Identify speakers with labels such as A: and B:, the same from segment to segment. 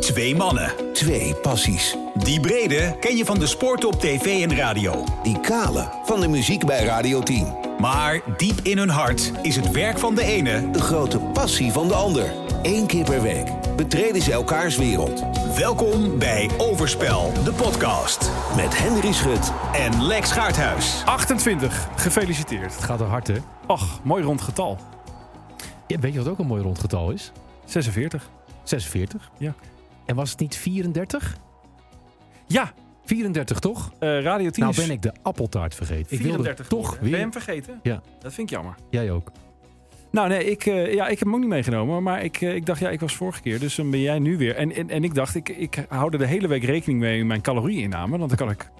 A: Twee mannen.
B: Twee passies.
A: Die brede ken je van de sport op tv en radio.
B: Die kale van de muziek bij Radio 10.
A: Maar diep in hun hart is het werk van de ene
B: De grote passie van de ander. Eén keer per week betreden ze elkaars wereld.
A: Welkom bij Overspel, de podcast.
B: Met Henry Schut.
A: En Lex Gaarthuis.
C: 28. Gefeliciteerd.
D: Het gaat er hard, hè?
C: Ach, mooi rond getal.
D: Ja, weet je wat ook een mooi rond getal is?
C: 46.
D: 46.
C: Ja.
D: En was het niet 34?
C: Ja,
D: 34 toch?
C: eh, Radio 10
D: Nou
C: is
D: ben ik de appeltaart vergeten.
C: 34
D: ik wilde toch
C: geworden. Ben je
D: weer...
C: hem vergeten?
D: Ja.
C: Dat vind ik jammer.
D: Jij ook.
C: Nou nee, ik, eh, ja, ik heb hem ook niet meegenomen. Maar ik, eh, ik dacht, ja, ik was vorige keer. Dus dan ben jij nu weer. En, en, en ik dacht, ik, ik hou er de hele week rekening mee in mijn calorieinname. Want dan kan ik...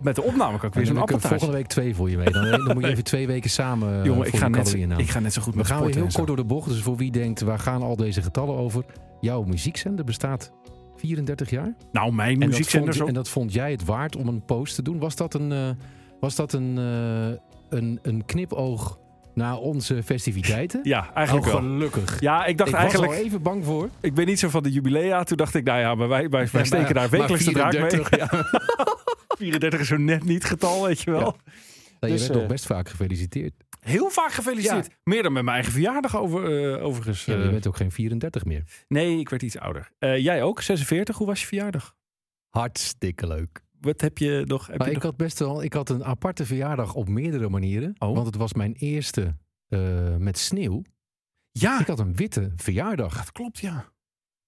C: Met de opname kan ik weer
D: Dan
C: zo'n
D: heb ik er
C: appeltaart.
D: volgende week twee voor je mee. Dan, dan moet je even twee weken samen eh,
C: Jongen,
D: voor
C: ik
D: de
C: ga, net,
D: calorieën na.
C: ik ga net zo goed
D: We
C: met
D: gaan weer
C: sporten en
D: heel
C: zo.
D: kort door de bocht. Dus voor wie denkt, waar gaan al deze getallen over? Jouw muziekzender bestaat 34 jaar.
C: Nou, mijn
D: En dat,
C: muziekzender
D: vond,
C: zo.
D: en dat vond jij het waard om een post te doen? Was dat een, eh, was dat een, eh, een, een knipoog naar onze festiviteiten?
C: Ja, eigenlijk
D: oh,
C: wel.
D: gelukkig.
C: Ja, ik dacht
D: ik
C: eigenlijk...
D: was al even bang voor.
C: Ik ben niet zo van de jubilea. Toen dacht ik, nou ja, maar wij, wij, wij steken daar wekelijks de draak mee. 34 is zo net niet getal, weet je wel.
D: Ja. je
C: Dus,
D: werd
C: eh,
D: nog best vaak gefeliciteerd.
C: Heel vaak gefeliciteerd. Meer dan met mijn eigen verjaardag over, eh, overigens.
D: Ja, maar je
C: eh.
D: bent ook geen 34 meer.
C: Nee, ik werd iets ouder. Eh, jij ook, 46. Hoe was je verjaardag?
D: Hartstikke leuk.
C: Wat heb je nog? Heb
D: Maar
C: je
D: ik had best wel ik had een aparte verjaardag op meerdere manieren.
C: Oh.
D: Want het was mijn eerste eh, met sneeuw.
C: nog- Ja,
D: Ik had Dus een witte verjaardag.
C: dat klopt, ja.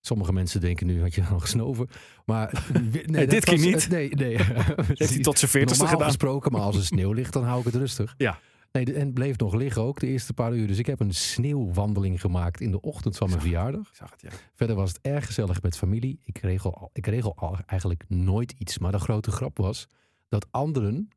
D: Sommige mensen denken nu had je al gesnoven. Maar eh, nee, dat
C: dit keer
D: was-
C: niet.
D: Nee, nee.
C: Heeft hij tot zijn 40ste
D: Normaal
C: gedaan?
D: gesproken, maar als er sneeuw ligt, dan hou ik het rustig.
C: Ja.
D: Nee, de- en het bleef nog liggen ook de eerste paar uur. Dus ik heb een sneeuwwandeling gemaakt in de ochtend van mijn verjaardag.
C: Ik zag het, ja.
D: Verder was het erg gezellig met familie. Ik regel, al- ik regel al eigenlijk nooit iets. Maar de grote grap was dat anderen,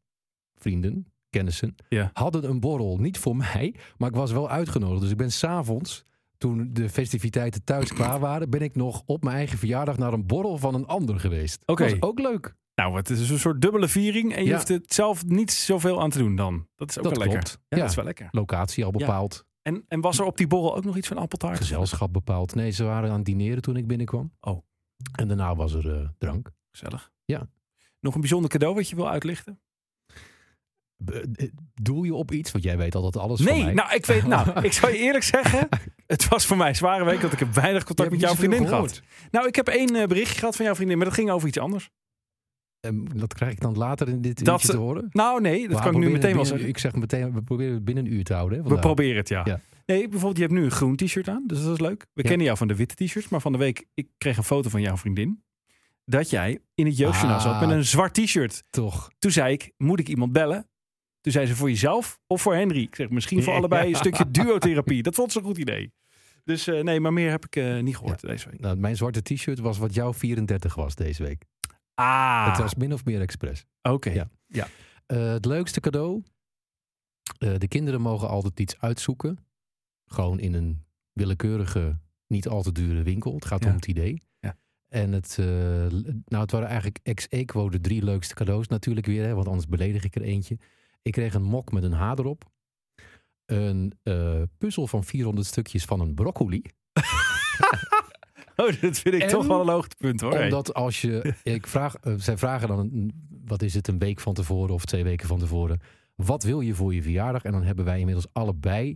D: vrienden, kennissen,
C: Ja.
D: hadden een borrel. Niet voor mij, maar ik was wel uitgenodigd. Dus ik ben s'avonds, toen de festiviteiten thuis klaar waren, ben ik nog op mijn eigen verjaardag naar een borrel van een ander geweest.
C: Oké.
D: was ook leuk.
C: Nou, het is een soort dubbele viering. En je
D: Ja.
C: hoeft het zelf niet zoveel aan te doen dan. Dat is ook
D: dat
C: wel lekker.
D: klopt.
C: Ja,
D: Ja,
C: dat is wel lekker.
D: Locatie al bepaald,
C: En, en was er op die borrel ook nog iets van appeltaart?
D: gezelschap bepaald. Nee, ze waren aan het dineren toen ik binnenkwam.
C: Oh.
D: En daarna was er eh, drank.
C: Gezellig.
D: Ja.
C: Nog een bijzonder cadeau wat je wil uitlichten?
D: Be- eh, Doel je op iets? Want jij weet altijd alles van
C: nee,
D: mij.
C: nou ik weet, nou, ik zal je eerlijk zeggen, het was voor mij een zware week, want ik heb weinig
D: Je
C: contact
D: hebt
C: met
D: niet
C: jouw
D: zoveel
C: vriendin
D: gehoord.
C: gehad. Nou, ik heb één eh, berichtje gehad van jouw vriendin, maar dat ging over iets anders.
D: En Ehm, dat krijg ik dan later in dit
C: Dat-
D: uurtje te horen?
C: Nou, nee, dat kan ik
D: Maar we
C: nu
D: proberen
C: meteen wel
D: binnen-
C: zeggen.
D: Ik zeg meteen, we proberen het binnen een uur te houden. hè,
C: We
D: vandaag.
C: proberen het, ja.
D: Ja.
C: Nee, bijvoorbeeld, je hebt nu een groen t-shirt aan, dus dat is leuk. We
D: Ja.
C: kennen jou van de witte t-shirts, maar van de week, ik kreeg een foto van jouw vriendin. Dat jij in het jeugdjournaal zat met
D: Ah.
C: een zwart t-shirt.
D: Toch.
C: Toen zei ik, moet ik iemand bellen? Toen zei ze, voor jezelf of voor Henry? Ik zeg, misschien voor
D: Ja.
C: allebei een stukje duotherapie. Dat vond ze een goed idee. Dus eh, nee, maar meer heb ik eh, niet gehoord deze week.
D: Nou, mijn zwarte t-shirt was wat jouw 34 was deze week.
C: Ah,
D: Het was min of meer expres.
C: oké.
D: Ja. Eh, het leukste cadeau. Eh, de kinderen mogen altijd iets uitzoeken. Gewoon in een willekeurige, niet al te dure winkel. Het gaat
C: Ja.
D: om het idee.
C: Ja.
D: En het, eh, nou, het waren eigenlijk ex-equo de drie leukste cadeaus natuurlijk weer. Hè, want anders beledig ik er eentje. Ik kreeg een mok met een H erop. Een eh, puzzel van 400 stukjes van een broccoli.
C: Oh, dat vind ik
D: En-
C: toch wel een hoogtepunt hoor. Hey.
D: Omdat als je. Ik vraag, eh, zij vragen dan, een- wat is het, een week van tevoren of twee weken van tevoren. Wat wil je voor je verjaardag? En dan hebben wij inmiddels allebei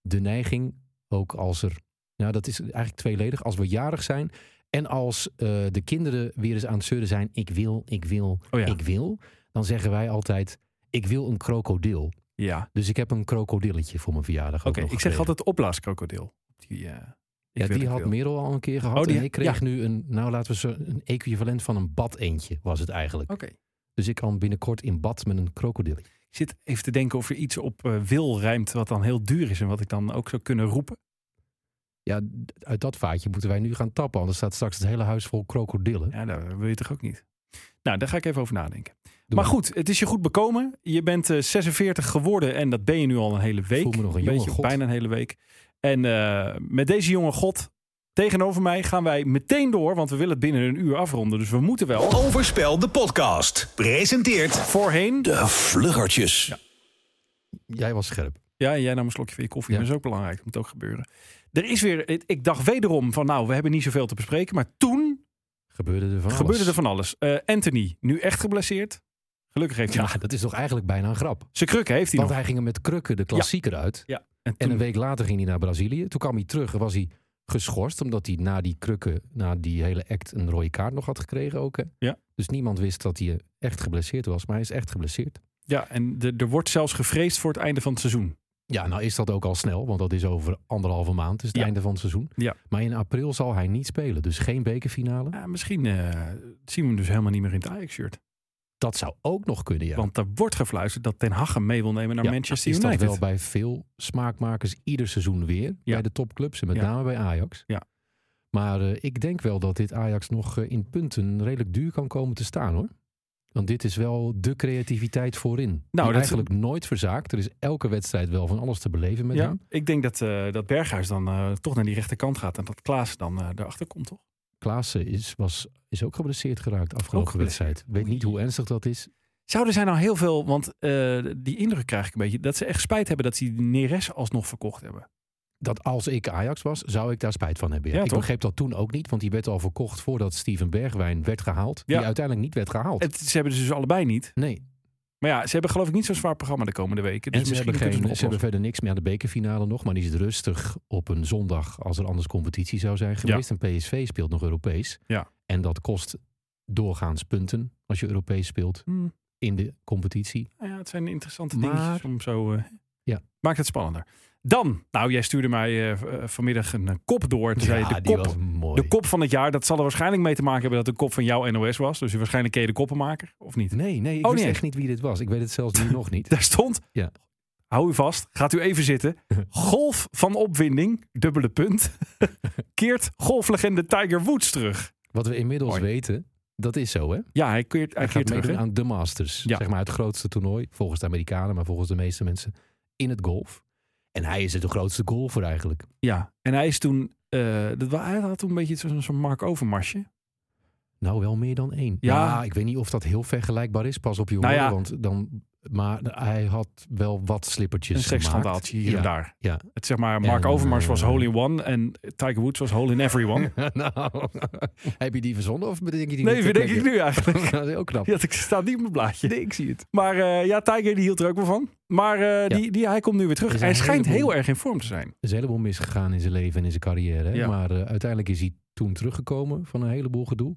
D: de neiging, ook als er. Nou, dat is eigenlijk tweeledig. Als we jarig zijn en als eh, de kinderen weer eens aan het zeuren zijn: ik wil, ik wil,
C: Oh ja.
D: ik wil. Dan zeggen wij altijd: ik wil een krokodil.
C: Ja,
D: Dus ik heb een krokodilletje voor mijn verjaardag. ook
C: oké.
D: nog
C: Ik zeg
D: gekregen.
C: altijd opblaaskrokodil. Die, eh, ik
D: Ja,
C: wil, ik
D: die had
C: wil.
D: Merel al een keer gehad.
C: Oh, die-
D: en ik kreeg nu een, nou laten we ze een equivalent van een bad eentje, was het eigenlijk.
C: Oké.
D: Dus ik kan binnenkort in bad met een krokodil.
C: Ik zit even te denken of er iets op eh, wil rijmt wat dan heel duur is en wat ik dan ook zou kunnen roepen.
D: Ja, d- uit dat vaatje moeten wij nu gaan tappen, anders staat straks het hele huis vol krokodillen.
C: Ja, dat wil je toch ook niet? Nou, daar ga ik even over nadenken.
D: Doe
C: maar goed, het is je goed bekomen. Je bent eh, 46 geworden en dat ben je nu al een hele week.
D: voel me nog een jonge
C: beetje,
D: god.
C: Bijna een hele week. En eh, met deze jonge god tegenover mij gaan wij meteen door, want we willen het binnen een uur afronden. Dus we moeten wel.
A: Overspel, de podcast. Presenteert
C: Voorheen.
D: Eh,
B: De Vluggertjes.
D: Jij was scherp.
C: Ja, en jij nam een slokje van je koffie.
D: Ja.
C: Dat is ook belangrijk. Dat moet ook gebeuren. Er is weer, ik- ik dacht wederom van nou, we hebben niet zoveel te bespreken. Maar toen
D: Gebeurde er van
C: Gebeurde
D: alles.
C: er van alles. Eh, Anthony, nu echt geblesseerd. Gelukkig heeft hij nog.
D: Ja, dat is toch eigenlijk bijna een grap.
C: Zijn kruk heeft hij
D: Want
C: nog.
D: hij ging er met krukken de klassieker uit.
C: Ja. En
D: En
C: toen-
D: een week later ging hij naar Brazilië. Toen kwam hij terug en was hij geschorst. Omdat hij na die krukken, na die hele act, een rode kaart nog had gekregen ook. Hè?
C: Ja.
D: Dus niemand wist dat hij eh, echt geblesseerd was. Maar hij is echt geblesseerd.
C: ja, en de- er wordt zelfs gevreesd voor het einde van het seizoen.
D: Ja, nou is dat ook al snel. Want dat is over anderhalve maand. Dus het
C: Ja.
D: einde van het seizoen.
C: Ja.
D: Maar in april zal hij niet spelen. Dus geen bekerfinale.
C: Ja, misschien eh, zien we hem dus helemaal niet meer in het Ajax-shirt.
D: Dat zou ook nog kunnen, ja.
C: Want er wordt gefluisterd dat Ten Hag hem mee wil nemen naar
D: Ja,
C: Manchester
D: is
C: United.
D: dat wel bij veel smaakmakers ieder seizoen weer.
C: Ja.
D: Bij de topclubs en met
C: Ja.
D: name bij Ajax.
C: Ja.
D: Maar eh, ik denk wel dat dit Ajax nog eh, in punten redelijk duur kan komen te staan hoor. Want dit is wel de creativiteit voorin. Nou,
C: dat-
D: eigenlijk nooit verzaakt. Er is elke wedstrijd wel van alles te beleven met
C: ja,
D: hem.
C: ik denk dat, eh, dat Berghuis dan eh, toch naar die rechterkant gaat en dat Klaas dan eh daarachter komt, toch?
D: Klaassen is, was, is ook geblesseerd geraakt afgelopen
C: Ook geblesseerd.
D: wedstrijd. Weet niet hoe ernstig dat is.
C: Zouden zij nou heel veel, want eh, die indruk krijg ik een beetje, dat ze echt spijt hebben dat ze die Neres alsnog verkocht hebben.
D: Dat als ik Ajax was, zou ik daar spijt van hebben. Ja.
C: Ja,
D: ik
C: toch?
D: begreep dat toen ook niet, want die werd al verkocht voordat Steven Bergwijn werd gehaald.
C: Ja.
D: Die uiteindelijk niet werd gehaald.
C: Het, ze hebben ze dus allebei niet.
D: Nee,
C: Maar ja, ze hebben geloof ik niet zo'n zwaar programma de komende weken. Dus
D: en ze
C: misschien
D: hebben,
C: kunnen
D: geen,
C: ze
D: ze
C: het
D: hebben
C: oplossen.
D: verder niks meer aan de bekerfinale nog. Maar die is rustig op een zondag als er anders competitie zou zijn geweest. En PSV speelt nog Europees.
C: Ja.
D: En dat kost doorgaans punten als je Europees speelt
C: Hmm.
D: in de competitie.
C: Nou Ja, het zijn interessante
D: Maar-
C: dingetjes om zo... eh,
D: Ja.
C: Maakt het spannender. Dan, nou jij stuurde mij eh, v- eh, vanmiddag een eh, kop door. Toen zei je, de
D: die
C: kop,
D: was mooi.
C: de kop van het jaar, dat zal er waarschijnlijk mee te maken hebben dat de kop van jouw NOS was. Dus waarschijnlijk ken je de koppenmaker, of niet?
D: Nee, nee, ik
C: Oh,
D: wist
C: nee.
D: echt niet wie dit was. Ik weet het zelfs nu nog niet.
C: Daar stond,
D: Ja.
C: hou u vast, gaat u even zitten. Golf van opwinding, dubbele punt, keert golflegende Tiger Woods terug.
D: Wat we inmiddels
C: Mooi.
D: weten, dat is zo hè.
C: Ja, hij keert, hij keert
D: Hij gaat
C: terug.
D: meedoen
C: hè?
D: aan de Masters.
C: Ja.
D: Zeg maar het grootste toernooi, volgens de Amerikanen, maar volgens de meeste mensen, in het golf. En hij is de grootste golfer eigenlijk.
C: Ja, en hij is toen, eh, dat, wa- hij had toen een beetje zo'n zo'n Mark Overmarsje.
D: Nou, wel meer dan één. Nou,
C: Ja.
D: ik weet niet of dat heel vergelijkbaar is. Pas op je
C: Nou
D: horen,
C: ja.
D: want dan... Maar hij had wel wat slippertjes
C: Een
D: gemaakt.
C: seksschandaaltje hier
D: ja.
C: en daar.
D: ja.
C: Het, zeg maar, Mark
D: En,
C: Overmars was
D: eh,
C: hole in one en Tiger Woods was hole in everyone.
D: nou, heb je die verzonnen of bedenk je die
C: nee,
D: nu ter
C: denk ik
D: plekke?
C: nu eigenlijk.
D: dat is heel knap.
C: Ja, ik sta niet op mijn blaadje. ik zie het. Maar eh, ja, Tiger die hield er ook wel van. Maar eh, die, die, hij komt nu weer terug.
D: Er is
C: Hij
D: een
C: schijnt
D: heleboel-
C: heel erg in vorm te zijn.
D: Er is een heleboel misgegaan in zijn leven en in zijn carrière. hè.
C: Ja.
D: Maar eh, uiteindelijk is hij toen teruggekomen van een heleboel gedoe.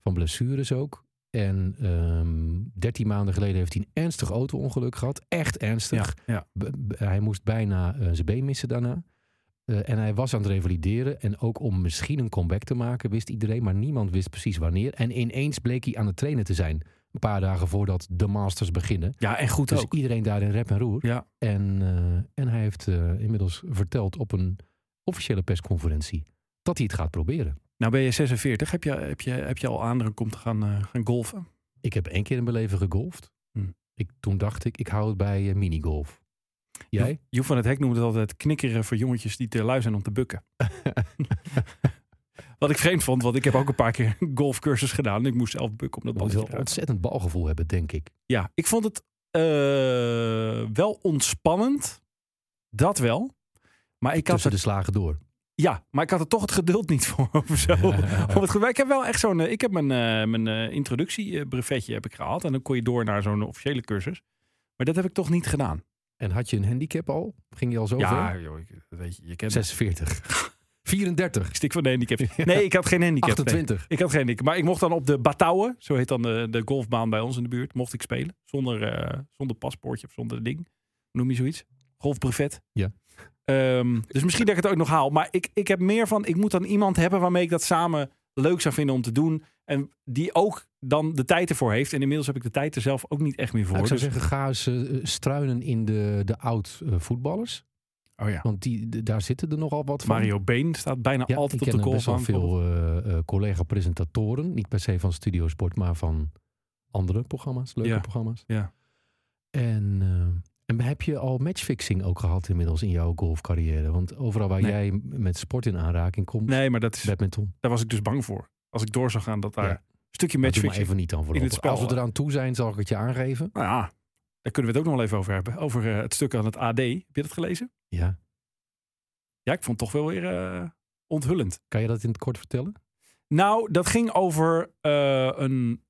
D: Van blessures ook. En ehm 13 maanden geleden heeft hij een ernstig auto-ongeluk gehad. Echt ernstig.
C: ja.
D: B- b- hij moest bijna eh, zijn been missen daarna. Eh, en hij was aan het revalideren. En ook om misschien een comeback te maken, wist iedereen. Maar niemand wist precies wanneer. En ineens bleek hij aan het trainen te zijn. Een paar dagen voordat de Masters beginnen.
C: Ja, en goed
D: Dus
C: ook.
D: iedereen daar in rep en roer.
C: Ja.
D: En, eh, en hij heeft eh, inmiddels verteld op een officiële persconferentie dat hij het gaat proberen.
C: Nou ben je 46. Heb je, heb je, heb je al aandrang om te gaan, eh, gaan golfen?
D: Ik heb één keer in mijn leven gegolfd.
C: Hm.
D: Ik, toen dacht ik, ik hou het bij eh, minigolf. Jij?
C: Joep van het Hek noemde het altijd knikkeren voor jongetjes die te lui zijn om te bukken. Wat ik vreemd vond, want ik heb ook een paar keer een golfcursus gedaan. En ik moest zelf bukken om dat
D: Je moet
C: balletje
D: wel
C: te raken.
D: ontzettend balgevoel hebben, denk ik.
C: Ja, ik vond het eh, wel ontspannend. Dat wel. Maar ik, had
D: Tussen
C: er,
D: de slagen door.
C: ja, maar ik had er toch het geduld niet voor. Of zo. Om het, ge- ik heb wel echt zo'n. eh, Ik heb mijn, eh, mijn eh, introductiebrevettje heb ik gehaald. En dan kon je door naar zo'n officiële cursus. Maar dat heb ik toch niet gedaan.
D: En had je een handicap al? Ging je al zo
C: Ja,
D: ver?
C: joh, ik- dat weet je, je kent
D: 46. 34.
C: Ik stik van de handicap. Nee, ik had geen handicap. nee.
D: 28.
C: Ik had geen handicap. Maar ik mocht dan op de Batouwen, zo heet dan de, de golfbaan bij ons in de buurt, mocht ik spelen. Zonder, eh, zonder paspoortje of zonder ding. Hoe Noem je zoiets? Golfbrevet.
D: Ja.
C: Ehm, dus misschien dat ik het ook nog haal. Maar ik, ik heb meer van, ik moet dan iemand hebben waarmee ik dat samen leuk zou vinden om te doen. En die ook dan de tijd ervoor heeft. En inmiddels heb ik de tijd er zelf ook niet echt meer voor.
D: Nou, ik zou
C: Dus-
D: zeggen, ga eens eh, struinen in de, de oud-voetballers.
C: oh ja.
D: Want die, de- daar zitten er nogal wat van.
C: Mario Been staat bijna
D: Ja,
C: altijd
D: ik
C: op
D: ken
C: de
D: best wel
C: golfbaan.
D: veel eh, eh, collega-presentatoren. Niet per se van Studio Sport, maar van andere programma's. Leuke
C: Ja.
D: programma's.
C: Ja.
D: En, eh, en heb je al matchfixing ook gehad inmiddels in jouw golfcarrière? Want overal waar
C: Nee.
D: jij m- met sport in aanraking komt,
C: Nee, maar dat is,
D: badminton.
C: daar was ik dus bang voor. Als ik door zou gaan, dat daar
D: Ja.
C: een stukje
D: Maar doe maar
C: matchfixing
D: even niet dan
C: het
D: voorlopig.
C: spel,
D: Als we
C: eh.
D: eraan toe zijn, zal ik het je aangeven.
C: Nou ja, daar kunnen we het ook nog wel even over hebben. Over eh, het stuk aan het AD. Heb je dat gelezen?
D: Ja.
C: Ja, ik vond het toch wel weer eh, onthullend.
D: Kan je dat in het kort vertellen?
C: Nou, dat ging over eh, een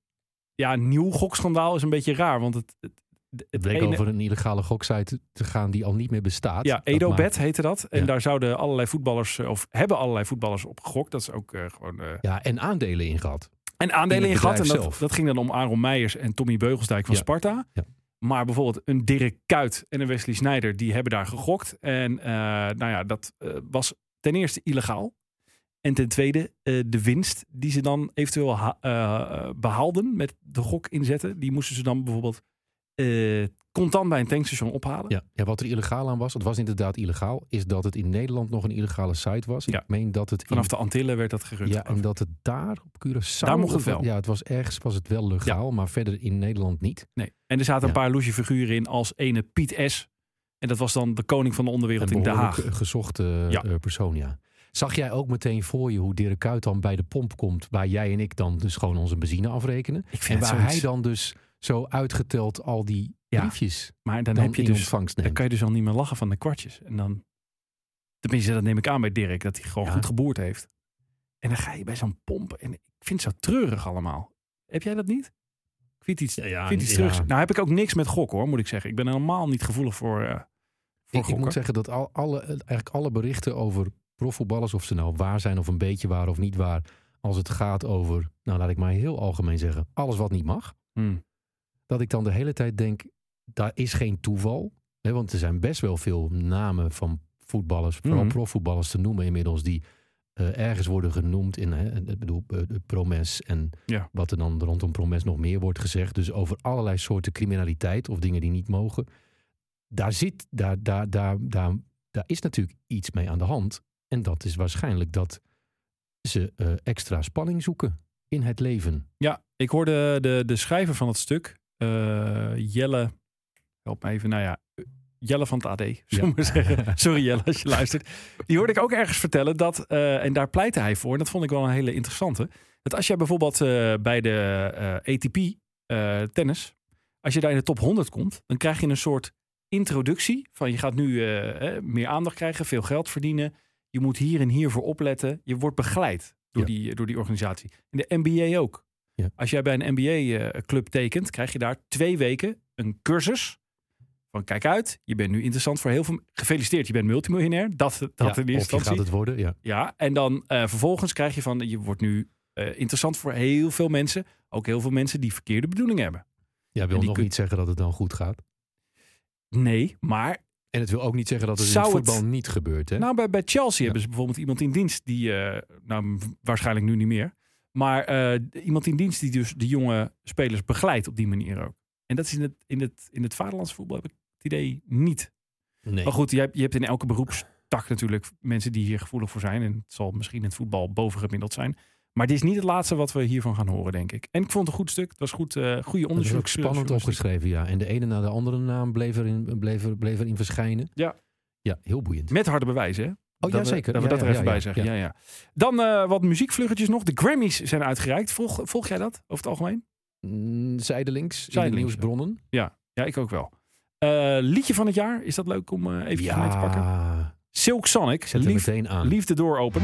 C: ja, nieuw gokschandaal. Is een beetje raar, want het, het, het
D: Het bleek
C: ene-
D: over een illegale goksite te gaan die al niet meer bestaat.
C: Ja,
D: Dat maakt-
C: Edobet heette dat. En
D: Ja.
C: daar zouden allerlei voetballers, eh, of hebben allerlei voetballers op gegokt. Dat is ook eh, gewoon... eh,
D: Ja, en aandelen in gehad.
C: en
D: In
C: aandelen
D: het
C: in gehad. En
D: bedrijf
C: dat,
D: zelf.
C: dat ging dan om Aaron Meijers en Tommy Beugelsdijk van
D: Ja.
C: Sparta.
D: Ja.
C: Maar bijvoorbeeld een Dirk Kuyt en een Wesley Sneijder, die hebben daar gegokt. En eh, nou ja, dat eh, was ten eerste illegaal. En ten tweede, eh, de winst die ze dan eventueel ha- eh, behaalden met de gok inzetten, die moesten ze dan bijvoorbeeld eh, contant bij een tankstation ophalen.
D: Ja. ja, wat er illegaal aan was, het was inderdaad illegaal, is dat het in Nederland nog een illegale site was.
C: Ja.
D: Ik meen dat het in-
C: Vanaf de Antillen werd dat gerund.
D: Mm. Ja, en dat het daar op Curaçao...
C: Daar mocht het
D: of-
C: wel.
D: Ja, het was ergens was het wel legaal, maar verder in Nederland niet.
C: Nee. En er zaten een
D: Ja.
C: paar loesje figuren in als ene Piet S. En dat was dan de koning van de onderwereld in Den Haag.
D: Een gezochte eh,
C: Ja.
D: eh, persoon, ja. Zag jij ook meteen voor je hoe Dirk Kuyt dan bij de pomp komt... waar jij en ik dan dus gewoon onze benzine afrekenen?
C: Ik
D: En
C: vind het
D: waar
C: zoiets.
D: hij dan dus zo uitgeteld al die
C: Ja.
D: briefjes
C: Maar dan,
D: dan
C: heb je
D: in
C: dus,
D: ontvangst
C: dan
D: neemt.
C: kan je dus al niet meer lachen van de kwartjes. En dan, tenminste, dat neem ik aan bij Dirk, dat hij gewoon
D: Ja.
C: goed geboerd heeft. En dan ga je bij zo'n pomp. En ik vind het zo treurig allemaal. Heb jij dat niet? Ik vind iets, ik vind iets
D: Ah, ja.
C: treurig. Nou heb ik ook niks met gokken hoor, moet ik zeggen. Ik ben helemaal niet gevoelig voor, eh voor
D: Ik, ik
C: gokken.
D: moet zeggen dat al, alle, eigenlijk alle berichten over profvoetballers, of ze nou waar zijn of een beetje waar of niet waar, als het gaat over, nou laat ik maar heel algemeen zeggen, alles wat niet mag,
C: Hmm.
D: dat ik dan de hele tijd denk, daar is geen toeval. Hè, want er zijn best wel veel namen van voetballers, vooral
C: Mhm.
D: profvoetballers te noemen inmiddels, die eh, ergens worden genoemd in, hè, ik bedoel, eh, de Promes en
C: Ja.
D: wat er dan rondom Promes nog meer wordt gezegd. Dus over allerlei soorten criminaliteit of dingen die niet mogen. Daar zit, daar, daar, daar, daar, daar is natuurlijk iets mee aan de hand. En dat is waarschijnlijk dat ze eh, extra spanning zoeken in het leven.
C: Ja, ik hoorde de, de schrijver van het stuk, eh, Jelle, help me even, nou ja, Jelle van het AD, zullen we maar zeggen. Sorry Jelle, als je luistert. Die hoorde ik ook ergens vertellen dat, eh, en daar pleitte hij voor, en dat vond ik wel een hele interessante, dat als jij bijvoorbeeld eh, bij de eh, ATP eh, tennis, als je daar in de top 100 komt, dan krijg je een soort introductie van je gaat nu eh, eh, meer aandacht krijgen, veel geld verdienen, je moet hier en hier voor opletten, je wordt begeleid door,
D: Ja.
C: die, door die organisatie. En de NBA ook. Als jij bij een NBA-club eh, tekent, krijg je daar twee weken een cursus. Van kijk uit, je bent nu interessant voor heel veel. Gefeliciteerd, je bent multimiljonair. Dat, dat in
D: Ja,
C: eerste
D: of je
C: instantie.
D: gaat het worden, ja.
C: Ja, en dan eh, vervolgens krijg je van, je wordt nu eh, interessant voor heel veel mensen. Ook heel veel mensen die verkeerde bedoelingen hebben.
D: Ja, wil
C: die
D: nog
C: kun-
D: niet zeggen dat het dan goed gaat.
C: Nee, maar
D: En het wil ook niet zeggen dat het
C: Zou
D: in
C: het-
D: het voetbal niet gebeurt. Hè?
C: Nou, bij, bij Chelsea hebben ze bijvoorbeeld iemand in dienst die, eh, nou m- waarschijnlijk nu niet meer, maar eh, iemand in dienst die dus de jonge spelers begeleidt op die manier ook. En dat is in het, in het, in het vaderlandse voetbal, heb ik het idee, niet.
D: nee.
C: Maar goed, je hebt, je hebt in elke beroepstak natuurlijk mensen die hier gevoelig voor zijn. En het zal misschien in het voetbal bovengemiddeld zijn. Maar dit is niet het laatste wat we hiervan gaan horen, denk ik. En ik vond het een goed stuk. Het was goed, eh goede
D: dat is
C: onderzoek.
D: ook spannend opgeschreven, ja. En de ene na de andere naam bleef erin, bleef er, bleef erin verschijnen.
C: Ja.
D: Ja, heel boeiend.
C: Met harde bewijzen, hè?
D: Oh,
C: dat
D: ja,
C: We, dat
D: zeker.
C: we
D: Ja,
C: dat
D: ja,
C: er even
D: ja,
C: bij
D: ja,
C: zeggen.
D: ja.
C: Ja. Ja, Dan eh, wat muziekvluggetjes nog. De Grammys zijn uitgereikt. Volg, volg jij dat over het algemeen?
D: Mm, Zijdelings, in
C: Zijdelings,
D: de
C: ja.
D: nieuwsbronnen.
C: Ja, ik ook wel. Eh, liedje van het jaar. Is dat leuk om eh even mee te pakken? Silk Sonic.
D: ik zet
C: Lief,
D: er meteen aan.
C: lief de door open.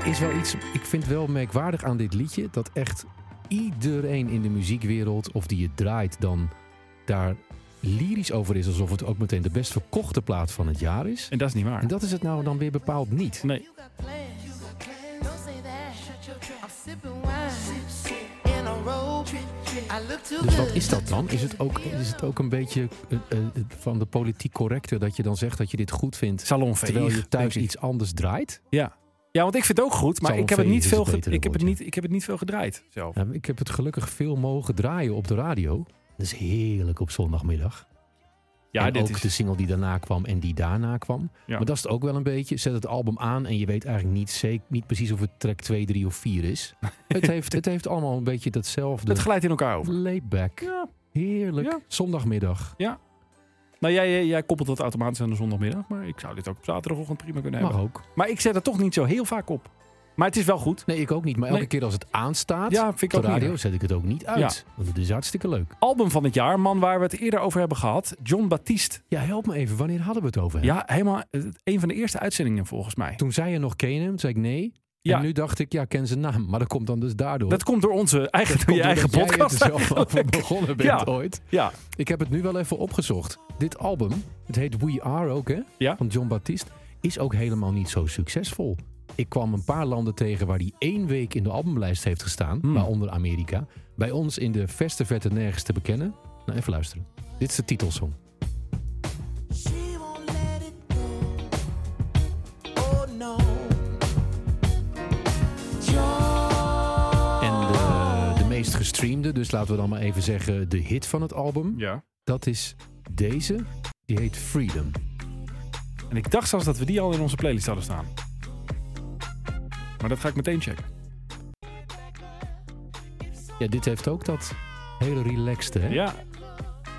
D: Er is wel iets, ik vind wel merkwaardig aan dit liedje... dat echt iedereen in de muziekwereld, of die het draait... dan daar lyrisch over is. Alsof het ook meteen de best verkochte plaat van het jaar is.
C: En dat is niet waar.
D: En dat is het nou dan weer bepaald niet.
C: Nee.
E: You got plans. Don't say that. I'm sipping wine in a robe. I look too
D: Dus
E: good.
D: wat is dat dan? Is het ook, is het ook een beetje eh, eh, van de politiek correcte dat je dan zegt dat je dit goed vindt...
C: Salonveeg.
D: terwijl je
C: denk
D: thuis
C: ik.
D: iets anders draait?
C: Ja. ja, want ik vind het ook goed. Maar
D: Salon
C: ik heb, het
D: Veeg
C: niet
D: is
C: veel
D: het
C: ge-
D: betere
C: ik, heb het
D: woord,
C: niet, ik heb het niet veel gedraaid zelf.
D: Nou, ik heb het gelukkig veel mogen draaien op de radio. Dat is heerlijk op zondagmiddag.
C: Ja,
D: en
C: dit
D: ook
C: is...
D: de single die daarna kwam en die daarna kwam.
C: Ja.
D: Maar dat is het ook wel een beetje. Zet het album aan en je weet eigenlijk niet, zeker, niet precies of het track 2, 3 of 4 is. het, heeft, het heeft allemaal een beetje datzelfde.
C: Het glijdt in elkaar over.
D: Layback.
C: Ja.
D: Heerlijk.
C: Ja.
D: Zondagmiddag.
C: Nou, jij, jij, jij koppelt dat automatisch aan de zondagmiddag. Maar ik zou dit ook op zaterdagochtend prima kunnen hebben.
D: Mag ook.
C: Maar ik zet het toch niet zo heel vaak op. Maar het is wel goed.
D: Nee, ik ook niet. Maar elke
C: Nee.
D: keer als het aanstaat
C: Ja, vind ik
D: op
C: ook
D: de
C: niet
D: radio,
C: erg.
D: zet ik het ook niet uit. Want het is hartstikke leuk.
C: Album van het jaar, man waar we het eerder over hebben gehad. John Baptiste.
D: Ja, help me even. Wanneer hadden we het over? hem?
C: Ja, helemaal eh, een van de eerste uitzendingen volgens mij.
D: Toen zei je nog ken je hem? Toen zei ik nee.
C: Ja.
D: En nu dacht ik, ja, ik ken zijn naam. Maar dat komt dan dus daardoor.
C: Dat komt door onze eigen, door
D: komt
C: je
D: doordat
C: eigen
D: jij
C: podcast.
D: er zelf over
C: eigenlijk.
D: begonnen bent
C: Ja.
D: ooit.
C: Ja,
D: Ik heb het nu wel even opgezocht. Dit album, het heet We Are ook, hè?
C: Ja.
D: Van John Baptiste. Is ook helemaal niet zo succesvol. Ik kwam een paar landen tegen waar die één week in de albumlijst heeft gestaan. Waaronder Amerika. Bij ons in de verste verte nergens te bekennen. Nou, even luisteren. Dit is de titelsong.
E: She won't let it go. Oh no. Joy.
D: En de, de meest gestreamde, dus laten we dan maar even zeggen de hit van het album.
C: ja.
D: Dat is deze. Die heet Freedom.
C: En ik dacht zelfs dat we die al in onze playlist hadden staan. Maar dat ga ik meteen checken.
D: Ja, dit heeft ook dat hele relaxte, hè?
C: Ja.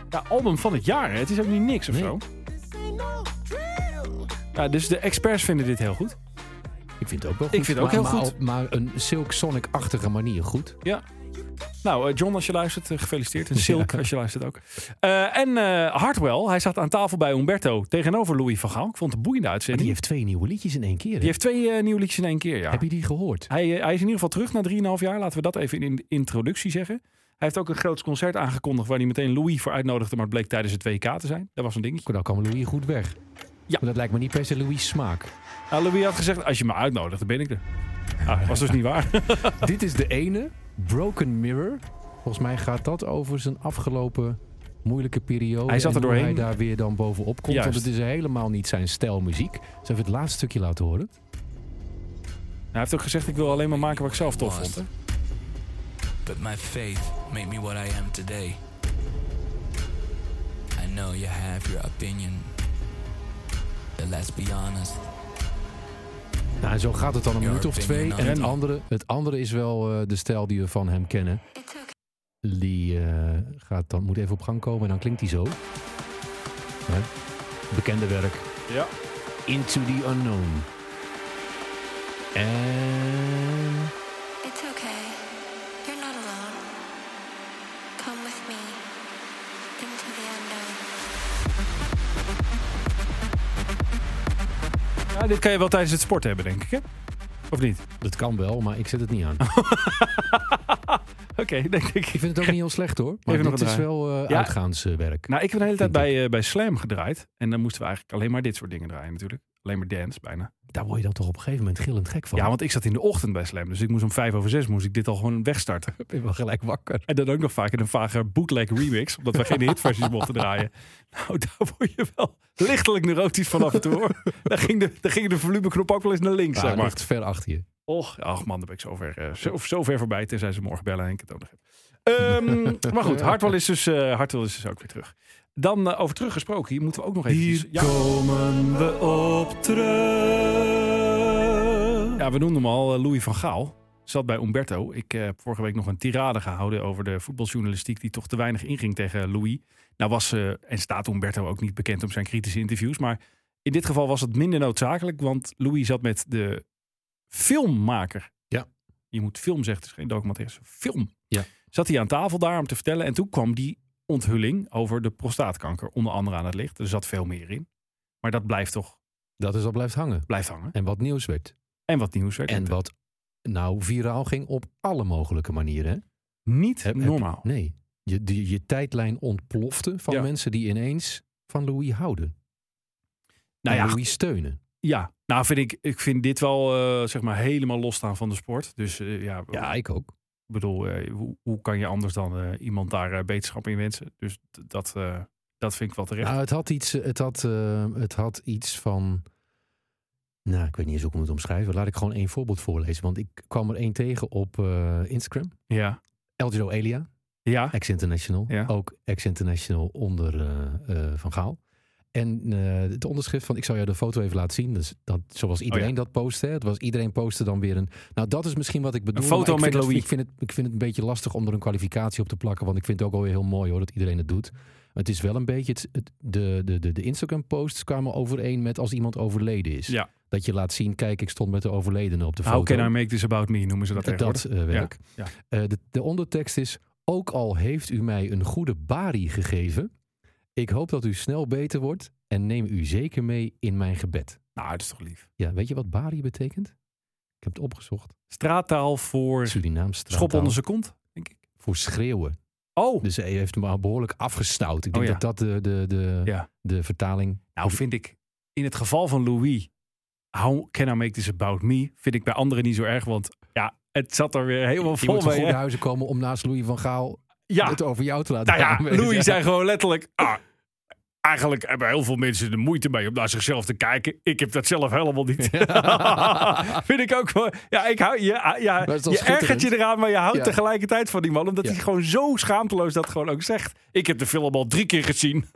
C: ja, album van het jaar. hè. Het is ook niet niks of
D: Nee.
C: zo.
E: This ain't no drill.
C: Ja, dus de experts vinden dit heel goed.
D: Ik vind het ook wel
C: Ik vind het ook heel
D: Maar- maar
C: goed.
D: op- maar een Silk Sonic-achtige manier goed.
C: Ja. Nou, eh, John, als je luistert, eh, gefeliciteerd. En Silk, als je luistert ook. Eh, en eh, Hartwell, hij zat aan tafel bij Umberto tegenover Louis van Gaal. Ik vond het een boeiende
D: Maar
C: uitzending.
D: die heeft twee nieuwe liedjes in één keer. hè?
C: Die heeft twee eh, nieuwe liedjes in één keer, ja.
D: Heb je die gehoord?
C: Hij, eh, hij is in ieder geval terug na 3,5 jaar. Laten we dat even in de introductie zeggen. Hij heeft ook een groot concert aangekondigd waar hij meteen Louis voor uitnodigde. Maar het bleek tijdens het WK te zijn. Dat was een dingetje.
D: Nou, Dan kwam Louis goed weg. Maar dat lijkt me niet per se Louis' smaak.
C: Nou, Louis had gezegd, als je me uitnodigt, dan ben ik er. Ah, was dus niet waar.
D: Dit is de ene, Broken Mirror. Volgens mij gaat dat over zijn afgelopen moeilijke periode.
C: Hij zat
D: en
C: er
D: hoe
C: doorheen.
D: hij daar weer dan bovenop komt.
C: Juist.
D: Want het is helemaal niet zijn stijl muziek. Zullen we het laatste stukje laten horen?
C: Nou, Hij heeft ook gezegd, ik wil alleen maar maken wat ik zelf tof vond. hè.
F: But my faith made me what I am today. I know you have your opinion. But let's be honest.
D: Nou, en zo gaat het dan een
F: Ja,
D: minuut of
F: ik denk
D: twee.
F: niet,
D: En
F: nou.
D: het andere, het andere is wel eh, de stijl die we van hem kennen. Die eh, gaat dan, moet even op gang komen en dan klinkt hij zo. Hè? Bekende werk.
C: Ja.
D: Into the Unknown. En...
G: It's okay. You're not alone. Come with me into the unknown.
C: Ja, dit kan je wel tijdens het sport hebben, denk ik, hè? Of niet?
D: Dat kan wel, maar ik zet het niet aan.
C: Oké, denk ik.
D: Ik vind het ook niet heel slecht hoor. Maar
C: Even nog
D: dit
C: een
D: is
C: draai.
D: wel eh,
C: Ja.
D: uitgaanswerk.
C: Nou, ik heb de hele tijd
D: Vind
C: bij, eh, bij Slam gedraaid. En dan moesten we eigenlijk alleen maar dit soort dingen draaien natuurlijk. Alleen maar dance bijna.
D: Daar word je dan toch op een gegeven moment gillend gek van.
C: Ja, want ik zat in de ochtend bij Slam. Dus ik moest om vijf over zes moest ik dit al gewoon wegstarten.
D: ik ben wel gelijk wakker.
C: En dan ook nog vaak in een vage bootleg remix. Omdat we geen hitversies mochten draaien. Nou, daar word je wel lichtelijk neurotisch van af en toe hoor. Daar ging de, daar ging de volumeknop ook wel eens naar links.
D: Ja,
C: zeg
D: het
C: maar.
D: ligt ver achter je.
C: Och, ach man, dan ben ik zo ver, eh, zo, zo ver voorbij. Tenzij ze morgen bellen en ik het ook nog heb. Ehm, maar goed, Hartwell is, dus, eh, Hartwell is dus ook weer terug. Dan eh, over teruggesproken, hier moeten we ook nog even...
A: komen we op terug.
C: Ja, we noemden hem al, eh, Louis van Gaal. Zat bij Umberto. Ik eh, heb vorige week nog een tirade gehouden over de voetbaljournalistiek die toch te weinig inging tegen Louis. Nou was eh, en staat Umberto ook niet bekend om zijn kritische interviews. Maar in dit geval was het minder noodzakelijk, want Louis zat met de filmmaker.
D: Ja.
C: Je moet film zeggen, het is geen documentaire, het is een film.
D: Ja.
C: Zat hij aan tafel daar om te vertellen en toen kwam die onthulling over de prostaatkanker onder andere aan het licht. Er zat veel meer in. Maar dat blijft toch,
D: Dat is al blijft hangen.
C: blijft hangen.
D: En wat nieuws werd.
C: En wat nieuws werd.
D: En wat nou viraal ging op alle mogelijke manieren. hè?
C: niet
D: Heb- heb-
C: normaal.
D: Nee. Je, die- je tijdlijn ontplofte van
C: Ja.
D: mensen die ineens van Louis houden.
C: Nou
D: en
C: ja,
D: Louis steunen.
C: Ja, nou vind ik, ik vind dit wel eh, zeg maar helemaal losstaan van de sport. Dus eh, ja,
D: Ja,
C: ik
D: ik ook.
C: bedoel, eh, hoe, hoe kan je anders dan eh, iemand daar eh, beterschap in wensen? Dus d- dat, eh, dat vind ik wel terecht.
D: Nou, het had iets, eh, het had, eh, het had iets van. Nou, ik weet niet eens hoe ik het moet omschrijven. Laat ik gewoon één voorbeeld voorlezen. Want ik kwam er één tegen op eh, Instagram.
C: ja,
D: Elgiro Elia,
C: ja,
D: ex-international.
C: Ja.
D: Ook ex-international onder eh, eh, Van Gaal. En eh, het onderschrift van, ik zal jou de foto even laten zien. Dus dat, zoals iedereen
C: Oh, ja.
D: dat postte. hè. Het was iedereen postte dan weer een... Nou, dat is misschien wat ik bedoel.
C: foto
D: maar ik vind
C: met
D: het-
C: Louis.
D: ik, vind het, ik vind het een beetje lastig om er een kwalificatie op te plakken. Want ik vind het ook alweer heel mooi hoor, dat iedereen het doet. Het is wel een beetje... Het, het- de, de, de, de Instagram posts kwamen overeen met als iemand overleden is.
C: ja.
D: Dat je laat zien, kijk, ik stond met de overledene op de foto.
C: How can I make this about me noemen ze dat
D: dat
C: tegenwoordig.
D: eh, werk.
C: Ja,
D: Eh, de, de ondertekst is: Ook al heeft u mij een goede barie gegeven, ik hoop dat u snel beter wordt en neem u zeker mee in mijn gebed.
C: Nou, dat is toch lief.
D: Ja, weet je wat barie betekent? Ik heb het opgezocht.
C: Straattaal voor
D: Surinaams
C: schop
D: straattaal.
C: onder zijn kont, denk ik.
D: Voor schreeuwen.
C: Oh,
D: Dus hij heeft hem al behoorlijk afgestout. Ik denk
C: Oh, ja.
D: dat dat de, de, de,
C: Ja.
D: de vertaling...
C: nou vind ik in het geval van Louis, How Can I Make This About Me, vind ik bij anderen niet zo erg, want ja, het zat er weer helemaal
D: Je
C: vol
D: moet van
C: mee.
D: goede
C: hè?
D: huizen komen om naast Louis van Gaal
C: Ja,
D: het over jou te laten
C: nou ja,
D: gaan.
C: Louis zei gewoon letterlijk, ah, eigenlijk hebben heel veel mensen de moeite mee om naar zichzelf te kijken. Ik heb dat zelf helemaal niet. vind ik ook wel, ja, ik hou, ja, ja,
D: Maar het is wel
C: je ergert je
D: schitterend.
C: eraan, maar je houdt
D: Ja.
C: tegelijkertijd van die man, omdat
D: Ja.
C: hij gewoon zo schaamteloos dat gewoon ook zegt. Ik heb de film al drie keer gezien.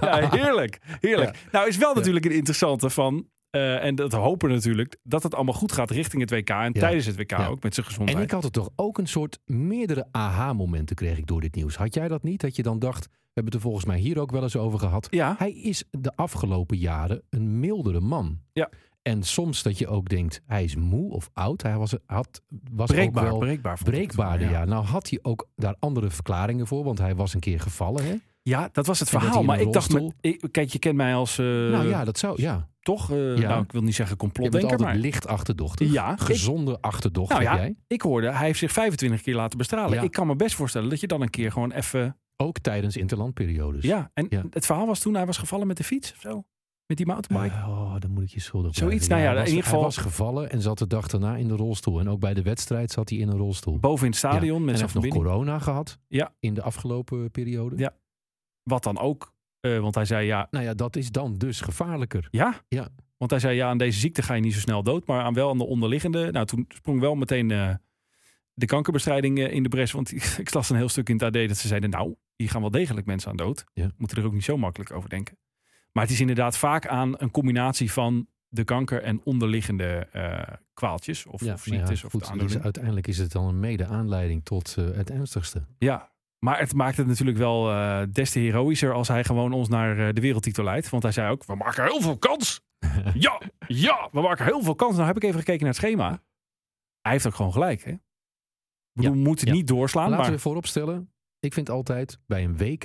C: ja, heerlijk. Heerlijk. Nou, is wel natuurlijk een interessante van. eh, en dat hopen we natuurlijk. Dat het allemaal goed gaat richting het WK. En
D: Ja.
C: tijdens het WK
D: Ja.
C: ook met zijn
D: En
C: gezondheid.
D: ik had het toch ook een soort meerdere aha-momenten kreeg ik door dit nieuws. Had jij dat niet? Dat je dan dacht, we hebben het er volgens mij hier ook wel eens over gehad.
C: Ja.
D: Hij is de afgelopen jaren een mildere man.
C: Ja.
D: En soms dat je ook denkt, hij is moe of oud. Hij was, had, was
C: breekbaar.
D: ook wel
C: breekbaar. vond ik het
D: breekbaarder.
C: wel,
D: Ja. Nou had hij ook daar andere verklaringen voor. Want hij was een keer gevallen.
C: Eh,
D: Hè?
C: Ja, dat was het
D: En dat
C: verhaal.
D: hij in
C: Maar
D: een
C: ik dacht,
D: rolstoel-
C: me- ik- kijk, je kent mij als eh,
D: nou ja, dat zou... Ja.
C: toch, eh,
D: Ja.
C: nou, ik wil niet zeggen
D: Je bent
C: complotdenker,
D: altijd
C: maar
D: licht achterdochtig.
C: Ja, ik-
D: Gezonde achterdocht
C: nou
D: heb
C: ja,
D: jij.
C: ik hoorde, hij heeft zich 25 keer laten bestralen.
D: Ja.
C: Ik kan me best voorstellen dat je dan een keer gewoon even,
D: Ook tijdens interlandperiodes.
C: ja. En
D: Ja.
C: het verhaal was toen hij was gevallen met de fiets of zo, met die mountainbike.
D: Eh, oh, dan moet ik je schuldig blijven.
C: Zoiets, nou ja,
D: hij was,
C: in ieder geval-
D: Hij was gevallen en zat de dag daarna in de rolstoel. En ook bij de wedstrijd zat hij in een rolstoel.
C: Boven in het
D: Ja.
C: stadion
D: en
C: met
D: hij
C: zijn
D: heeft nog
C: verbinding.
D: corona gehad
C: Ja.
D: in de afgelopen periode.
C: Ja. Wat dan ook, eh, want hij zei ja,
D: Nou ja, dat is dan dus gevaarlijker.
C: Ja?
D: Ja.
C: Want hij zei, ja, aan deze ziekte ga je niet zo snel dood, maar aan wel aan de onderliggende. Nou, toen sprong wel meteen eh, de kankerbestrijding eh, in de bres. Want ik las een heel stuk in het AD dat ze zeiden, nou, hier gaan wel degelijk mensen aan dood.
D: Ja.
C: Moeten er ook niet zo makkelijk over denken. Maar het is inderdaad vaak aan een combinatie van de kanker en onderliggende eh, kwaaltjes of,
D: Ja,
C: of
D: maar ja,
C: ziektes of
D: goed,
C: de
D: dus
C: aandoening.
D: uiteindelijk is het dan een mede aanleiding tot eh, het ernstigste.
C: Ja, maar het maakt het natuurlijk wel eh, des te heroïscher als hij gewoon ons naar eh, de wereldtitel leidt. Want hij zei ook, we maken heel veel kans. ja, ja, we maken heel veel kans. Nou heb ik even gekeken naar het schema. Hij heeft ook gewoon gelijk, hè? We
D: Ja,
C: moeten
D: ja.
C: niet doorslaan,
D: Laten
C: maar
D: we vooropstellen, ik vind altijd bij een WK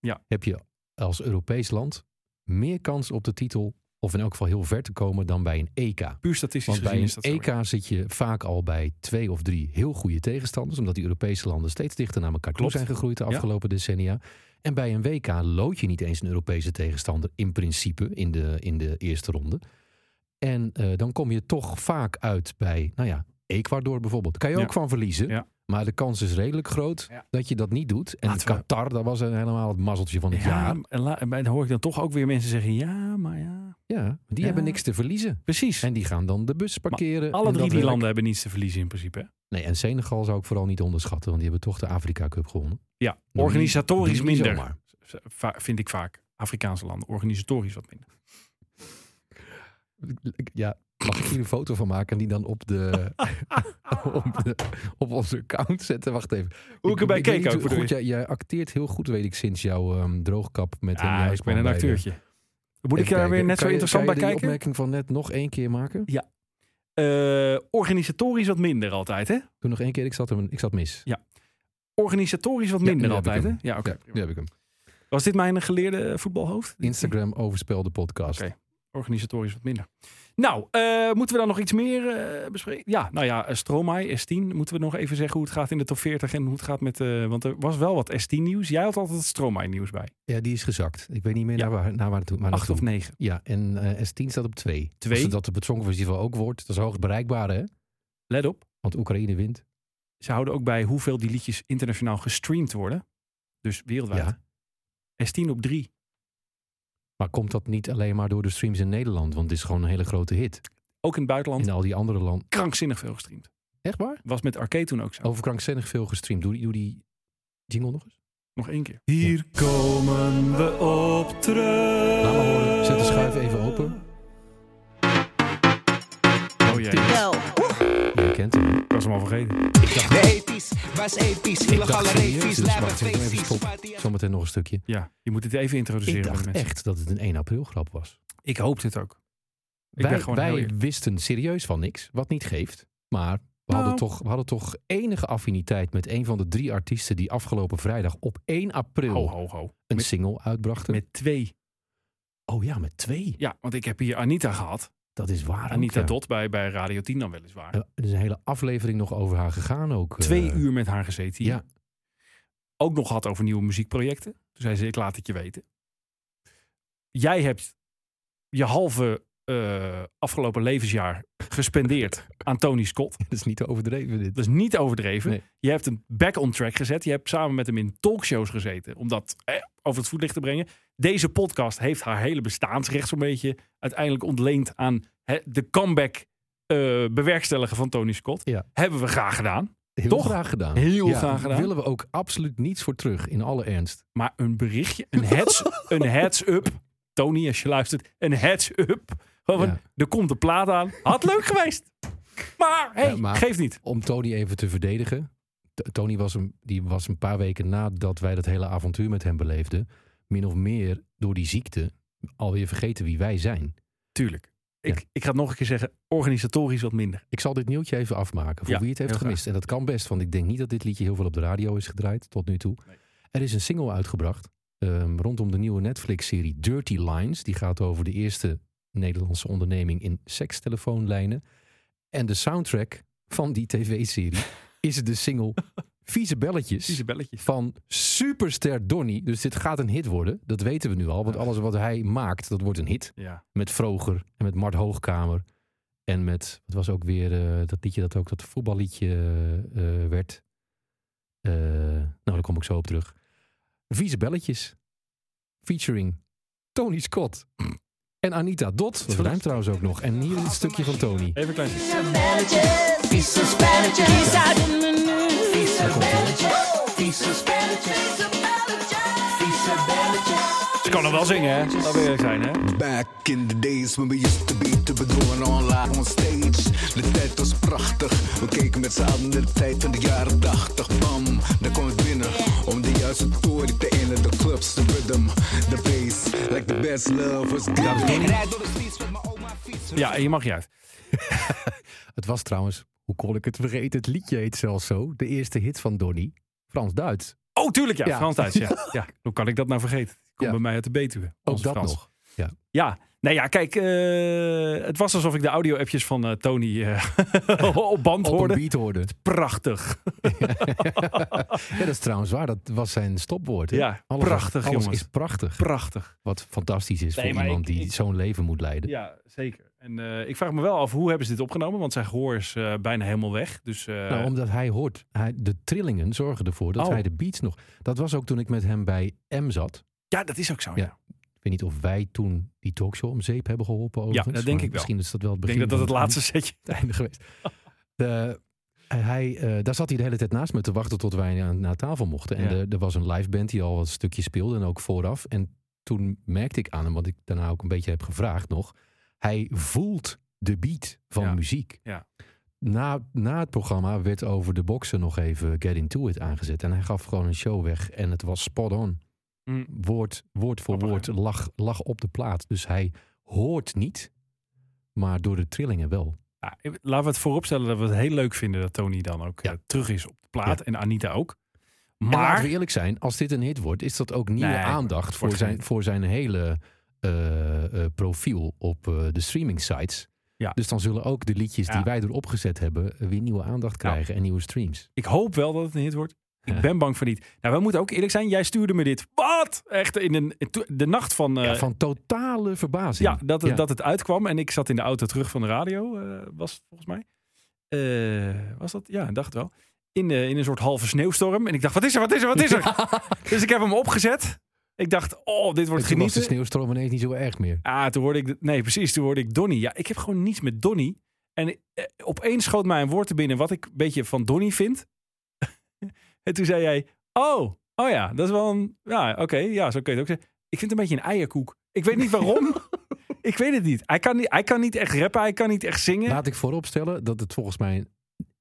C: Ja.
D: heb je als Europees land meer kans op de titel, of in elk geval heel ver te komen, dan bij een E EK.
C: puur statistisch
D: Want bij
C: gezien
D: een
C: is dat zo.
D: EK zit je vaak al bij twee of drie heel goede tegenstanders. Omdat die Europese landen steeds dichter naar elkaar
C: Klopt.
D: toe zijn gegroeid de
C: Ja.
D: afgelopen decennia. En bij een WK lood je niet eens een Europese tegenstander in principe in de, in de eerste ronde. En eh, dan kom je toch vaak uit bij, nou ja, Ecuador bijvoorbeeld. Daar kan je
C: Ja.
D: ook van verliezen.
C: Ja.
D: Maar de kans is redelijk groot
C: Ja.
D: dat je dat niet doet. En
C: Laten we-
D: Qatar, dat was helemaal het mazzeltje van het
C: Ja,
D: jaar.
C: en la- en dan hoor ik dan toch ook weer mensen zeggen, ja, maar ja.
D: Ja, die
C: Ja.
D: hebben niks te verliezen.
C: Precies.
D: En die gaan dan de bus parkeren.
C: Alle drie
D: en dat
C: die
D: werkt.
C: landen hebben niets te verliezen in principe. hè?
D: Nee, en Senegal zou ik vooral niet onderschatten, want die hebben toch de Afrika Cup gewonnen.
C: Ja,
D: Doe
C: organisatorisch
D: Doe je niet
C: minder.
D: zomaar.
C: Va- Vind ik vaak. Afrikaanse landen, organisatorisch wat minder.
D: Ja, mag ik hier een foto van maken en die dan op de, op, de op onze account zetten? Wacht even.
C: Hoe ik erbij
D: weet
C: keek
D: niet
C: ook,
D: hoe
C: bedoel
D: goed, jij, jij acteert heel goed, weet ik, sinds jouw ehm, droogkap met hem.
C: Ja, Ah, ik ben een acteurtje. Moet ik daar weer net zo interessant bij
D: Kan je die
C: kijken?
D: opmerking van net nog één keer maken?
C: Eh, organisatorisch wat minder altijd, hè?
D: Toen nog één keer, ik zat, hem, ik zat mis.
C: Organisatorisch wat
D: Ja,
C: minder
D: nu heb ik
C: altijd, hè?
D: hem.
C: Ja, oké.
D: Ja, nu heb ik hem.
C: Was dit mijn geleerde eh, voetbalhoofd?
D: Instagram overspel de podcast.
C: Oké. Organisatorisch wat minder. Nou, eh, moeten we dan nog iets meer eh, bespreken? Ja, nou ja, eh, Stromae, S10. Moeten we nog even zeggen hoe het gaat in de top 40 en hoe het gaat met... eh, want er was wel wat S10-nieuws. Jij had altijd het Stromae-nieuws bij.
D: Ja, die is gezakt. Ik weet niet meer
C: Ja.
D: naar waar, naar waar, toe, waar
C: Acht
D: naartoe.
C: of negen.
D: Ja, en eh, S10 staat op 2.
C: Twee?
D: Als dat op het Songfestival ook wordt. Dat is hoog bereikbaar, hè?
C: Let op,
D: Want Oekraïne wint.
C: ze houden ook bij hoeveel die liedjes internationaal gestreamd worden. Dus wereldwijd.
D: Ja.
C: S10 op drie.
D: Maar komt dat niet alleen maar door de streams in Nederland? Want het is gewoon een hele grote hit.
C: Ook in het buitenland.
D: In al die andere landen.
C: Krankzinnig veel gestreamd.
D: Echt waar?
C: Was met Arcade toen ook zo.
D: Over krankzinnig veel gestreamd. Doe die, doe die jingle nog eens.
C: Nog één keer. Hier komen we op
D: Laat maar
C: terug.
D: horen. Zet de schuif even open. Nou,
C: Oh jee, ik
D: Je kent hem.
C: was hem al vergeten.
D: Ik dacht serieus, dus wacht, ik doe hem even stop. Zometeen nog een stukje.
C: Ja, je moet dit even introduceren
D: Ik
C: bij de
D: dacht
C: mensen.
D: echt dat het een 1 april grap was.
C: Ik hoop dit ook. Ik
D: wij
C: ben gewoon
D: wij
C: heel eer-
D: wisten serieus van niks, wat niet geeft. Maar we,
C: Nou.
D: hadden toch, we hadden toch enige affiniteit met een van de drie artiesten die afgelopen vrijdag op 1 april
C: Ho, ho, ho.
D: een
C: Oh, Met,
D: single uitbrachten.
C: met twee.
D: oh ja, met twee.
C: Ja, want ik heb hier Anita gehad.
D: Dat is waar.
C: Anita
D: ook, ja.
C: Dot bij, bij Radio 10 dan weliswaar.
D: Eh, Er is een hele aflevering nog over haar gegaan ook. eh.
C: Twee uur met haar gezeten. hier.
D: Ja.
C: Ook nog had over nieuwe muziekprojecten. Toen zei ze, ik laat het je weten. Jij hebt je halve eh, afgelopen levensjaar gespendeerd aan Tony Scott.
D: Dat is niet te overdreven dit.
C: Dat is niet overdreven.
D: Nee.
C: Je hebt hem back on track gezet. Je hebt samen met hem in talkshows gezeten. Om dat eh, over het voetlicht te brengen. Deze podcast heeft haar hele bestaansrecht zo'n beetje uiteindelijk ontleend aan hè, de comeback eh, bewerkstelligen van Tony Scott.
D: Ja.
C: Hebben we graag gedaan.
D: Heel
C: Toch?
D: graag gedaan.
C: Heel
D: Ja,
C: graag gedaan.
D: willen we ook absoluut niets voor terug, in alle ernst.
C: Maar een berichtje, een heads, een heads up. Tony, als je luistert, een heads up. Gewoon,
D: Ja.
C: Er komt een plaat aan. Had leuk geweest. Maar, hey,
D: Ja, maar-
C: geeft niet.
D: Om Tony even te verdedigen. T- Tony was een, die was een paar weken nadat wij dat hele avontuur met hem beleefden... min of meer door die ziekte alweer vergeten wie wij zijn.
C: Tuurlijk.
D: Ja.
C: Ik, ik ga het nog een keer zeggen, organisatorisch wat minder.
D: Ik zal dit nieuwtje even afmaken voor
C: Ja,
D: wie het heeft
C: heel graag.
D: gemist. En dat kan best, want ik denk niet dat dit liedje heel veel op de radio is gedraaid tot nu toe. Er is een single uitgebracht ehm, rondom de nieuwe Netflix-serie Dirty Lines. Die gaat over de eerste Nederlandse onderneming in sekstelefoonlijnen. En de soundtrack van die tv-serie is de single Vieze Belletjes
C: Vieze belletjes.
D: van superster Donny. Dus dit gaat een hit worden, dat weten we nu al. Want alles wat hij maakt, dat wordt een hit
C: Ja.
D: met Vroger en met Mart Hoogkamer. En met, het was ook weer eh, dat liedje dat ook dat voetballiedje eh, eh, werd. Eh, nou, daar kom ik zo op terug. Vieze Belletjes. Featuring Tony Scott. En Anita Dot. Dat ruimt trouwens ook nog. En hier een stukje van Tony.
C: Even een klein stukje. Ze kan hem wel zingen, hè? Dat wil ik zijn, hè?
H: Back in the days when we used to be te bedwongen online on stage. De tijd was prachtig, we keken met z'n allen naar de tijd van de jaren 80. Bam, daar kwam het binnen. Om de juiste toren te in de clubs, de rhythm, de bass. Like the best love was good. Ik rijd door de streets met mijn oma fiets.
C: Ja, en je mag je uit.
D: Het was trouwens, hoe kon ik het vergeten? Het liedje heet zelfs zo. De eerste hit van Donny. Frans-Duits.
C: Oh, tuurlijk, ja.
D: Ja.
C: Frans Duits, ja. ja. Hoe kan ik dat nou vergeten? Die Komt
D: Ja.
C: bij mij uit de Betuwe.
D: Ook
C: onze
D: dat
C: Frans.
D: nog. Ja.
C: Ja, nou ja, kijk, eh, het was alsof ik de audio-appjes van eh, Tony eh, op band
D: Op een
C: hoorde.
D: beat hoorde.
C: Prachtig.
D: Ja, dat is trouwens waar. Dat was zijn stopwoord. hè?
C: Ja,
D: Alles-
C: prachtig,
D: alles
C: jongens.
D: is prachtig.
C: Prachtig.
D: Wat fantastisch is
C: Nee,
D: voor
C: maar
D: iemand
C: ik-
D: die
C: ik-
D: zo'n leven moet leiden.
C: Ja, zeker. En eh, ik vraag me wel af, hoe hebben ze dit opgenomen? Want zijn gehoor is eh, bijna helemaal weg. Dus, eh,
D: Nou, omdat hij hoort, hij, de trillingen zorgen ervoor dat
C: Oh.
D: hij de beats nog... Dat was ook toen ik met hem bij M zat.
C: Ja, dat is ook zo.
D: Ja,
C: ja.
D: Ik weet niet of wij toen die talkshow om zeep hebben geholpen overigens.
C: dat denk
D: maar
C: ik wel.
D: Misschien is dat wel het
C: Ik
D: begin
C: denk dat dat het
D: van
C: laatste setje
D: het einde geweest. De, hij, eh, daar zat hij de hele tijd naast me te wachten tot wij aan- naar tafel mochten. En
C: Ja.
D: er, er was een live band die al wat stukjes speelde en ook vooraf. En toen merkte ik aan hem, wat ik daarna ook een beetje heb gevraagd nog. Hij voelt de beat van
C: Ja.
D: muziek.
C: Ja.
D: Na, na het programma werd over de boksen nog even Get Into It aangezet. En hij gaf gewoon een show weg en het was spot on.
C: Mm.
D: Woord, woord voor
C: Grappig,
D: woord
C: hè?
D: lag, lag op de plaat. Dus hij hoort niet, maar door de trillingen wel.
C: Ja, ik- laten we het vooropstellen dat we het heel leuk vinden dat Tony dan ook
D: Ja.
C: eh, terug is op de plaat.
D: Ja.
C: En Anita ook.
D: Maar
C: Maar
D: laten we eerlijk zijn, als dit een hit wordt, is dat ook nieuwe
C: Nee,
D: aandacht voor
C: wordt geen
D: zijn,
C: hit.
D: voor zijn hele eh, eh, profiel op eh, de streaming sites.
C: Ja.
D: Dus dan zullen ook de liedjes
C: Ja. Nou.
D: die wij erop gezet hebben eh, weer nieuwe aandacht krijgen en nieuwe streams.
C: ik hoop wel dat het een hit wordt. Ik
D: Ja.
C: ben bang voor niet. Nou, we moeten ook eerlijk zijn. Jij stuurde me dit. Wat? Echt in een, to- de nacht van... eh,
D: Ja,
C: ja,
D: van totale verbazing.
C: dat, het- dat het uitkwam. En ik zat in de auto terug van de radio. eh, was het volgens mij. Eh, was dat? Ja, ik dacht het wel. In, eh, in een soort halve sneeuwstorm. En ik dacht, wat is er? Wat is er? Wat is er? Dus ik heb hem opgezet. Ik dacht, oh, dit wordt
D: het was de
C: genieten.
D: sneeuwstorm ineens niet zo erg meer.
C: Ah, toen hoorde ik... de- Nee, precies. Toen hoorde ik Donnie. Ja, ik heb gewoon niets met Donnie. En eh, opeens schoot mij een woord te binnen wat ik een beetje van Donnie vind. en toen zei jij... Oh, oh ja, dat is wel een... Ja, oké. ja, zo kun je het ook zeggen. Ik vind het een beetje een eierkoek. Ik weet niet waarom. ik weet het niet. Hij kan niet, hij kan niet echt rappen. Hij kan niet echt zingen.
D: Laat ik vooropstellen dat het volgens mij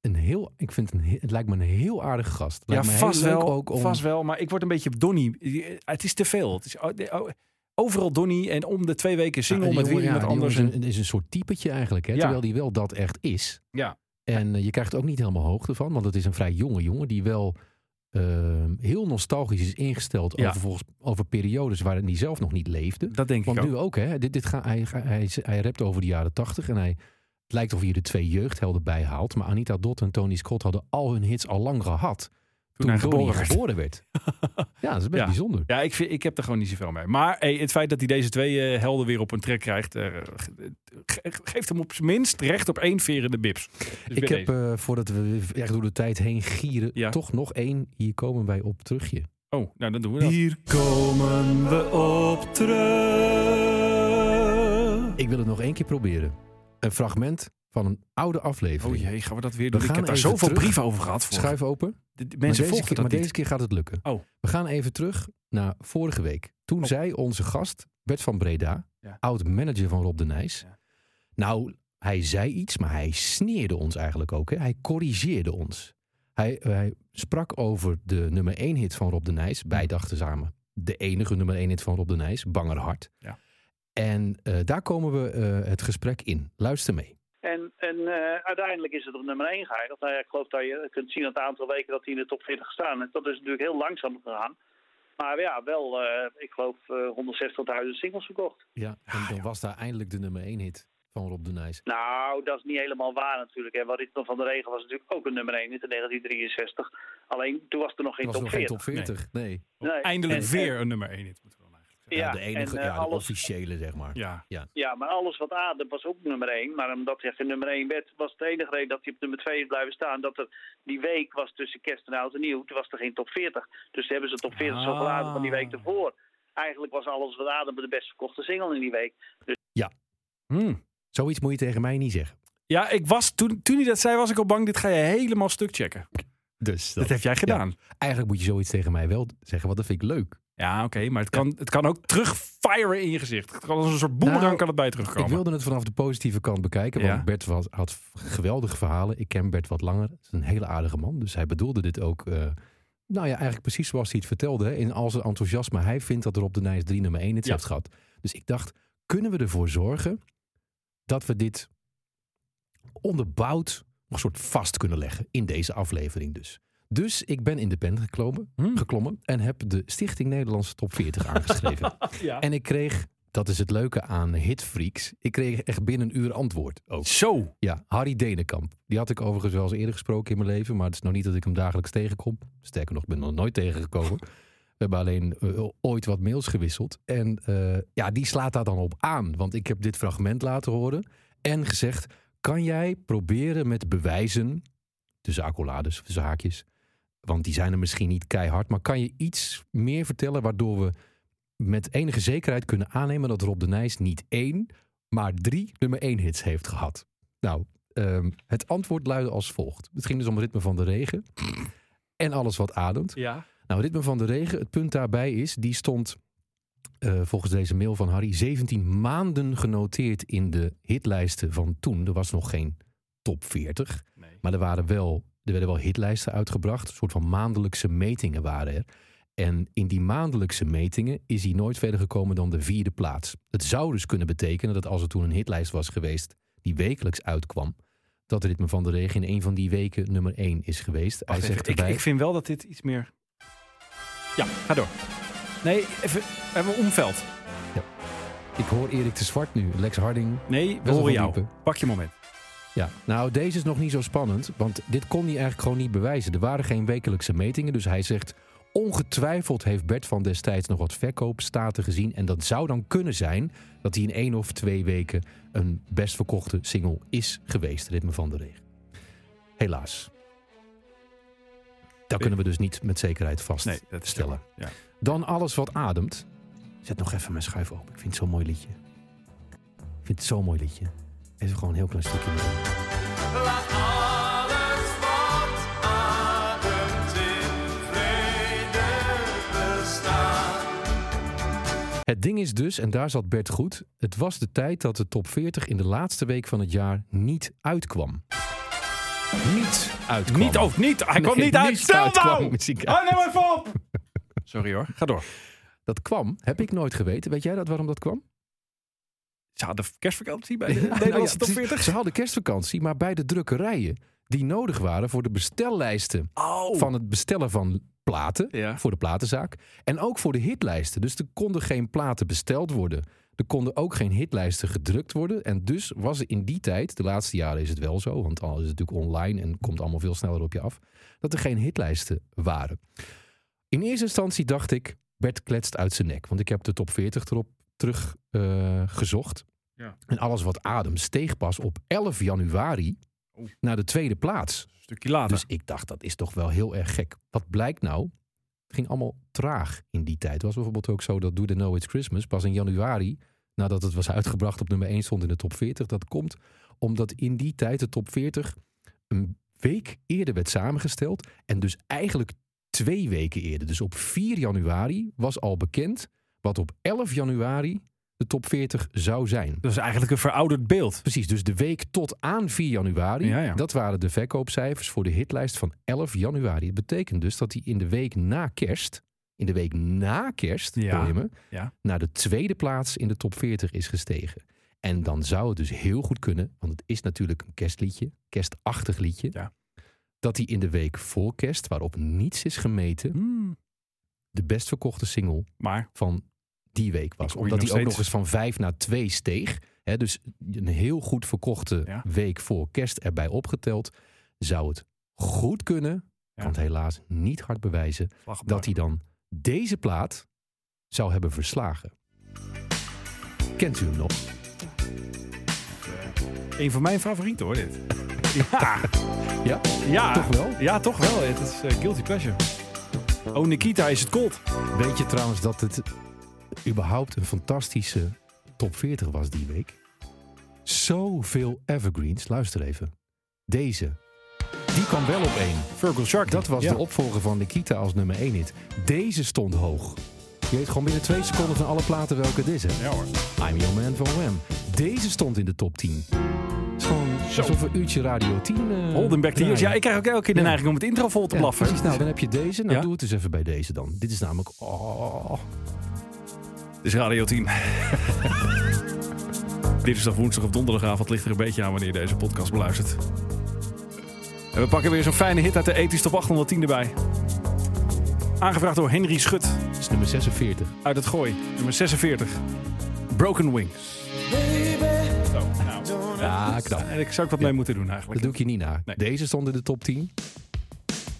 D: een heel, ik vind het, een, he- het lijkt me een heel aardige gast. Het
C: ja,
D: lijkt me
C: vast
D: heel leuk
C: wel,
D: ook om-
C: vast wel. Maar ik word een beetje Donnie. Eh, Het is te veel. Het is... oh, de- oh, Overal Donnie en om de twee weken single
D: Ja, Nou, die
C: met weer
D: jongen,
C: iemand
D: ja, die
C: anders.
D: jongen Is een, is een soort typetje eigenlijk, hè?
C: Ja.
D: terwijl die wel dat echt is.
C: Ja.
D: En eh, je krijgt er ook niet helemaal hoogte van, want het is een vrij jonge jongen die wel eh, heel nostalgisch is ingesteld
C: Ja.
D: over, volgens, over periodes waarin hij zelf nog niet leefde.
C: Dat denk
D: Want
C: ik ook.
D: nu ook, hè? Dit, dit ga, hij, hij, hij rapt over de jaren tachtig en hij, het lijkt of hij de twee jeugdhelden bijhaalt. Maar Anita Dot en Tony Scott hadden al hun hits al lang gehad. Toen,
C: hij
D: Donnie
C: geboren werd.
D: geboren werd. ja, dat is best
C: Ja.
D: bijzonder.
C: Ja, ik, vind, ik heb er gewoon niet zoveel mee. Maar hey, het feit dat hij deze twee eh, helden weer op een trek krijgt, eh, ge- ge- geeft hem op zijn minst recht op één veer in de bips. Dus
D: ik
C: bij
D: heb,
C: deze.
D: eh, voordat we echt door de tijd heen gieren,
C: Ja.
D: toch nog één. Hier komen wij op terugje.
C: Oh, nou dan doen we dat.
D: Hier
C: komen we op terug.
D: Ik wil het nog één keer proberen. Een fragment van een oude aflevering.
C: Oh jee, gaan we dat weer doen?
D: We
C: ik
D: gaan
C: heb daar
D: even
C: zoveel
D: terug.
C: brieven over gehad. Voor.
D: Schuif open.
C: De- de
D: Maar
C: mensen
D: deze,
C: volgen
D: keer,
C: dat
D: maar
C: niet.
D: deze keer gaat het lukken.
C: Oh.
D: We gaan even terug naar vorige week. Toen
C: Oh.
D: zei onze gast, Bert van Breda,
C: Ja.
D: oud-manager van Rob de Nijs.
C: Ja.
D: Nou, hij zei iets, maar hij sneerde ons eigenlijk ook. Hè? Hij corrigeerde ons. Hij, hij sprak over de nummer 1 hit van Rob de Nijs. Wij dachten samen, de enige nummer 1 hit van Rob de Nijs, Banger Hart.
C: Ja.
D: En eh, daar komen we eh, het gesprek in. Luister mee.
I: En, en eh, uiteindelijk is het op nummer 1 geëindigd. Nou ja, ik geloof dat je kunt zien aan het aantal weken dat hij in de top 40 staan. En dat is natuurlijk heel langzaam gegaan. Maar ja, wel, eh, ik geloof eh 160.000 singles verkocht.
D: Ja, en dan was daar eindelijk de nummer 1 hit van Rob de Nijs.
I: Nou, dat is niet helemaal waar natuurlijk. En wat ik dan van de regen was natuurlijk ook een nummer 1 in 1963. Alleen toen was er nog geen
D: Dat was
I: top
D: nog
I: 40.
D: geen top 40, nee.
I: Nee.
C: Eindelijk
I: En-
C: weer een nummer 1 hit moeten we dan eigenlijk
I: Ja,
D: Ja, Nou, de enige,
I: en, eh,
D: ja, de
I: alles-
D: officiële, zeg maar.
C: zeggen. Ja.
I: Ja, maar alles wat adem was ook nummer 1. Maar omdat hij geen nummer 1 werd, was de enige reden dat hij op nummer 2 is blijven staan. Dat er die week was tussen kerst en oud en nieuw, toen was er geen top 40. Dus hebben ze top 40 zo
C: Ah.
I: geladen van die week ervoor. Eigenlijk was alles wat adem de best verkochte single in die week.
C: Hmm.
D: Zoiets moet je tegen mij niet zeggen.
C: Ja, ik was, toen, toen hij dat zei, was ik al bang. Dit ga je helemaal stuk checken.
D: Dus
C: Dat, heb jij gedaan.
D: Eigenlijk moet je zoiets tegen mij wel zeggen, want dat vind ik leuk.
C: Ja, oké, maar het kan, het kan ook terugfiren in je gezicht. Het kan als een soort boemerang
D: Nou,
C: kan het bij je terugkomen.
D: Ik wilde het vanaf de positieve kant bekijken, want
C: Ja.
D: Bert was, had geweldige verhalen. Ik ken Bert wat langer. Het is een hele aardige man, dus hij bedoelde dit ook... eh, nou ja, eigenlijk precies zoals hij het vertelde. Hè, in al zijn enthousiasme. Hij vindt dat Rob de Nijs 3 nummer 1 het
C: Ja.
D: heeft gehad. Dus ik dacht, kunnen we ervoor zorgen dat we dit onderbouwd nog een soort vast kunnen leggen in deze aflevering dus. Dus ik ben independent geklommen,
C: Hmm.
D: geklommen en heb de Stichting Nederlandse Top 40 aangeschreven.
C: Ja.
D: En ik kreeg, dat is het leuke aan Hitfreaks, ik kreeg echt binnen een uur antwoord ook.
C: Zo.
D: Ja, Harry Denenkamp. Die had ik overigens wel eens eerder gesproken in mijn leven. Maar het is nou niet dat ik hem dagelijks tegenkom. Sterker nog, ik ben hem nog nooit tegengekomen. We hebben alleen eh, ooit wat mails gewisseld. En eh, ja, die slaat daar dan op aan. Want ik heb dit fragment laten horen. En gezegd, kan jij proberen met bewijzen... tussen accolades, tussen haakjes... want die zijn er misschien niet keihard... maar kan je iets meer vertellen waardoor we met enige zekerheid kunnen aannemen... dat Rob de Nijs niet één, maar drie nummer één hits heeft gehad? Nou, ehm, het antwoord luidde als volgt. Het ging dus om ritme van de regen en alles wat ademt.
C: Ja.
D: Nou, ritme van de regen, het punt daarbij is, die stond eh, volgens deze mail van Harry 17 maanden genoteerd in de hitlijsten van toen. Er was nog geen top 40,
C: Nee.
D: maar er, waren wel, er werden wel hitlijsten uitgebracht. Een soort van maandelijkse metingen waren er. En in die maandelijkse metingen is hij nooit verder gekomen dan de vierde plaats. Het zou dus kunnen betekenen dat als er toen een hitlijst was geweest die wekelijks uitkwam, dat Ritme van de Regen in een van die weken nummer 1 is geweest. Hij
C: Wacht even,
D: zegt
C: ik,
D: erbij,
C: ik vind wel dat dit iets meer... Ja, ga door. Nee, even, even omveld.
D: ik hoor Erik de Zwart nu, Lex Harding,
C: Nee, we
D: wel
C: horen jou.
D: verdiepen.
C: Pak je moment.
D: Ja, nou deze is nog niet zo spannend, want dit kon hij eigenlijk gewoon niet bewijzen. Er waren geen wekelijkse metingen, dus hij zegt... Ongetwijfeld heeft Bert van destijds nog wat verkoopstaten gezien... en dat zou dan kunnen zijn dat hij in één of twee weken... een best verkochte single is geweest, Ritme van de Regen. Helaas. Daar kunnen we dus niet met zekerheid
C: Nee, dat is
D: vaststellen.
C: jammer,
D: Dan Alles Wat Ademt. Zet nog even mijn schuif open, ik vind het zo'n mooi liedje. Ik vind het zo'n mooi liedje. Even gewoon een heel klein stukje. mee. Het ding is dus, en daar zat Bert goed, het was de tijd dat de top 40 in de laatste week van het jaar niet uitkwam. Niet uitkwam.
C: Niet of niet. Hij
D: Nee,
C: komt niet uit.
D: niet
C: Stel
D: uitkwam,
C: nou!
D: muziek.
C: Hou nou even op! Sorry hoor, ga door.
D: Dat kwam, heb ik nooit geweten. Weet jij dat waarom dat kwam?
C: Ze hadden kerstvakantie bij de
D: Nou ja,
C: Nederlandse top
D: precies.
C: 40.
D: Ze hadden kerstvakantie, maar bij de drukkerijen die nodig waren voor de bestellijsten
C: Oh.
D: van het bestellen van platen,
C: Ja.
D: voor de platenzaak. En ook voor de hitlijsten. Dus er konden geen platen besteld worden. Er konden ook geen hitlijsten gedrukt worden. En dus was er in die tijd, de laatste jaren is het wel zo, want al is het natuurlijk online en komt allemaal veel sneller op je af, dat er geen hitlijsten waren. In eerste instantie dacht ik, Bert kletst uit zijn nek. Want ik heb de top 40 erop terug eh, gezocht.
C: Ja.
D: En alles wat adem steeg pas op 11 januari naar de tweede plaats.
C: Een stukje later.
D: Dus ik dacht, dat is toch wel heel erg gek. Wat blijkt nou? Het ging allemaal traag in die tijd. Het was bijvoorbeeld ook zo dat Do The Know It's Christmas pas in januari, nadat het was uitgebracht op nummer 1 stond in de top 40. Dat komt omdat in die tijd de top 40 een week eerder werd samengesteld. En dus eigenlijk twee weken eerder. Dus op 4 januari was al bekend wat op 11 januari de top 40 zou zijn.
C: dat is eigenlijk een verouderd beeld.
D: Precies, dus de week tot aan 4 januari.
C: Ja, ja.
D: Dat waren de verkoopcijfers voor de hitlijst van 11 januari. Het betekent dus dat hij in de week na kerst, in de week na kerst,
C: Ja,
D: hoor je me,
C: ja.
D: naar de tweede plaats in de top 40 is gestegen. En dan zou het dus heel goed kunnen, want het is natuurlijk een kerstliedje, kerstachtig liedje,
C: Ja.
D: dat hij in de week voor kerst, waarop niets is gemeten,
C: Hmm.
D: de best verkochte single
C: Maar
D: van die week was.
C: hoor je
D: Omdat
C: nog
D: die ook nog
C: steeds.
D: eens van 5 naar 2 steeg. Hè, dus een heel goed verkochte
C: Ja.
D: week voor kerst erbij opgeteld. Zou het goed kunnen,
C: Ja.
D: kan het helaas niet hard bewijzen,
C: slag op
D: dat
C: de-
D: hij dan deze plaat zou hebben verslagen. Kent u hem nog?
C: een van mijn favorieten hoor dit. ja.
D: Ja?
C: ja,
D: Toch wel?
C: Ja, toch wel. Het is eh, guilty pleasure. Oh Nikita is het cold.
D: Weet je trouwens dat het überhaupt een fantastische top 40 was die week? Zoveel evergreens. Luister even. Deze. Die kwam wel op één.
C: Virgil Shark.
D: Dat was
C: Ja.
D: de opvolger van Nikita als nummer 1 hit. Deze stond hoog. Je weet gewoon binnen twee seconden van alle platen welke dit is. hè?
C: Ja hoor.
D: I'm Your Man van Wham. Deze stond in de top 10. Het is gewoon alsof we een uurtje Radio 10... eh,
C: Holden back the years. Ja,
D: draaien.
C: ik krijg ook elke keer de
D: Ja.
C: neiging om het intro vol te
D: Ja,
C: blaffen.
D: precies. Nou, dan heb je deze. Nou,
C: Ja.
D: doe het eens even bij deze dan. Dit is namelijk... Oh,
C: Dit is Radio 10. Dinsdag, woensdag of donderdagavond ligt er een beetje aan wanneer je deze podcast beluistert. En we pakken weer zo'n fijne hit uit de ethisch top 810 erbij. Aangevraagd door Henry Schut
D: dit is nummer 46.
C: uit het Gooi, nummer 46. Broken Wings. Zo, nou.
D: Ja, Ah, knap.
C: En ik zou ik wat mee moeten doen eigenlijk.
D: Dat doe ik je niet na.
C: Nee.
D: Deze stond in de top 10.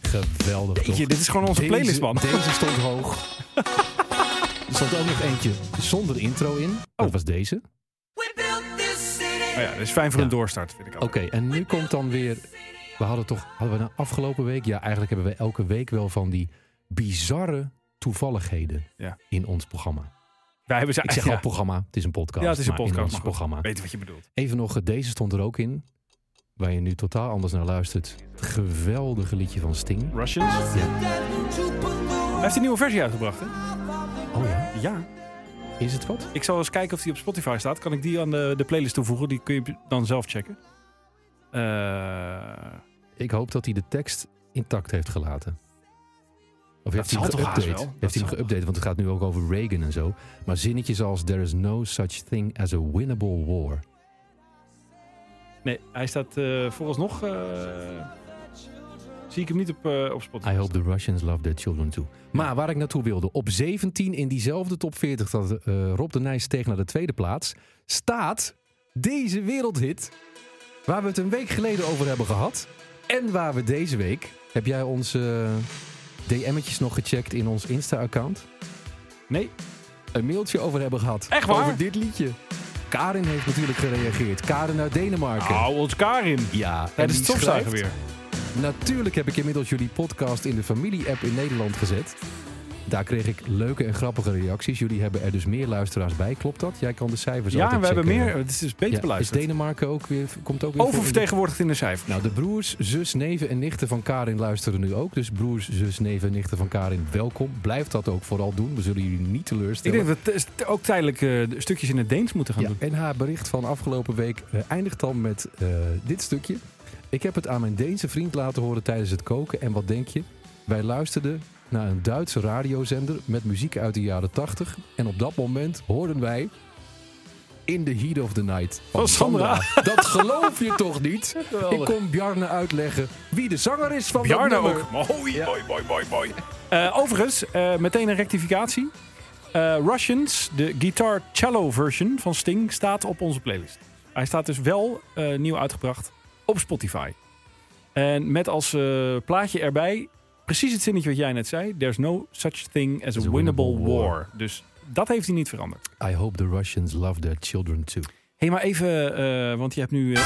D: Geweldig toch?
C: Jeetje, dit is gewoon onze
D: Deze-
C: playlist, man.
D: Deze stond hoog. er stond ook nog eentje zonder intro
C: Oh.
D: in. Oh, Dat was deze.
C: Maar Oh ja, dat is fijn voor een
D: Ja.
C: doorstart, vind ik ook.
D: Oké, en nu komt dan weer... We hadden toch... Hadden we nou afgelopen week... Ja, eigenlijk hebben we elke week wel van die bizarre toevalligheden
C: Ja.
D: in ons programma.
C: Wij hebben ze
D: Ik zeg
C: ja.
D: al programma, het is een podcast.
C: Ja, het is een
D: maar in
C: podcast.
D: ons
C: maar goed,
D: programma.
C: Weet wat je bedoelt.
D: Even nog, eh, deze stond er ook in. Waar je nu totaal anders naar luistert. Het geweldige liedje van Sting.
C: Russians? Hij heeft een nieuwe versie uitgebracht, hè?
D: Oh ja,
C: Ja.
D: is het wat?
C: Ik zal eens kijken of die op Spotify staat. Kan ik die aan de, de playlist toevoegen? Die kun je dan zelf checken. Eh,
D: Ik hoop dat hij de tekst intact heeft gelaten. Of heeft hij
C: zal
D: hem
C: toch haast
D: geüpdate?
C: wel? Dat
D: Heeft hij
C: zal
D: hem geüpdate? Want het gaat nu ook over Reagan en zo. Maar zinnetjes als There is no such thing as a winnable war.
C: nee, hij staat eh vooralsnog... eh, zie ik hem niet op, eh, op Spotify.
D: I hope the Russians love their children too. Maar waar ik naartoe wilde. Op 17 in diezelfde top 40 dat eh, Rob de Nijs steeg naar de tweede plaats. Staat deze wereldhit. Waar we het een week geleden over hebben gehad. En waar we deze week... Heb jij onze DM'tjes nog gecheckt in ons Insta-account?
C: Nee,
D: een mailtje over hebben gehad.
C: Echt waar?
D: Over dit liedje. Karin heeft natuurlijk gereageerd. Karin uit Denemarken.
C: hou ons Karin.
D: Ja, en
C: Tijdens
D: die
C: het stofzuigen
D: schrijft,
C: weer.
D: Natuurlijk heb ik inmiddels jullie podcast in de familie-app in Nederland gezet. Daar kreeg ik leuke en grappige reacties. Jullie hebben er dus meer luisteraars bij, klopt dat? Jij kan de cijfers
C: Ja, we
D: altijd
C: hebben
D: checken.
C: meer. Het is dus beter
D: Ja,
C: beluisterd.
D: Is Denemarken ook weer, komt ook weer voor in de-
C: Oververtegenwoordigd in de cijfers.
D: Nou, de broers, zus, neven en nichten van Karin luisteren nu ook. Dus broers, zus, neven en nichten van Karin, welkom. Blijf dat ook vooral doen. We zullen jullie niet
C: ik
D: teleurstellen.
C: denk dat we t- ook tijdelijk eh, de stukjes in het Deens moeten gaan
D: Ja,
C: doen.
D: en haar bericht van afgelopen week eh, eindigt dan met eh, dit stukje. Ik heb het aan mijn Deense vriend laten horen tijdens het koken. En wat denk je? Wij luisterden naar een Duitse radiozender met muziek uit de jaren 80. En op dat moment hoorden wij In the Heat of the Night van
C: Van Sandra.
D: Sandra. Dat geloof je toch niet? Ik kon Bjarne uitleggen wie de zanger is van dat
C: Bjarne
D: nummer.
C: ook. Mooi, mooi, mooi, mooi, mooi. Eh, overigens, eh, meteen een rectificatie. Eh, Russians, de guitar cello version van Sting, staat op onze playlist. Hij staat dus wel eh, nieuw uitgebracht op Spotify. En met als eh, plaatje erbij precies het zinnetje wat jij net zei. There's no such thing as a winnable
D: winnable war.
C: war. Dus dat heeft hij niet veranderd.
D: I hope the Russians love their children too.
C: Hé, hey, maar even, eh, want je hebt nu eh,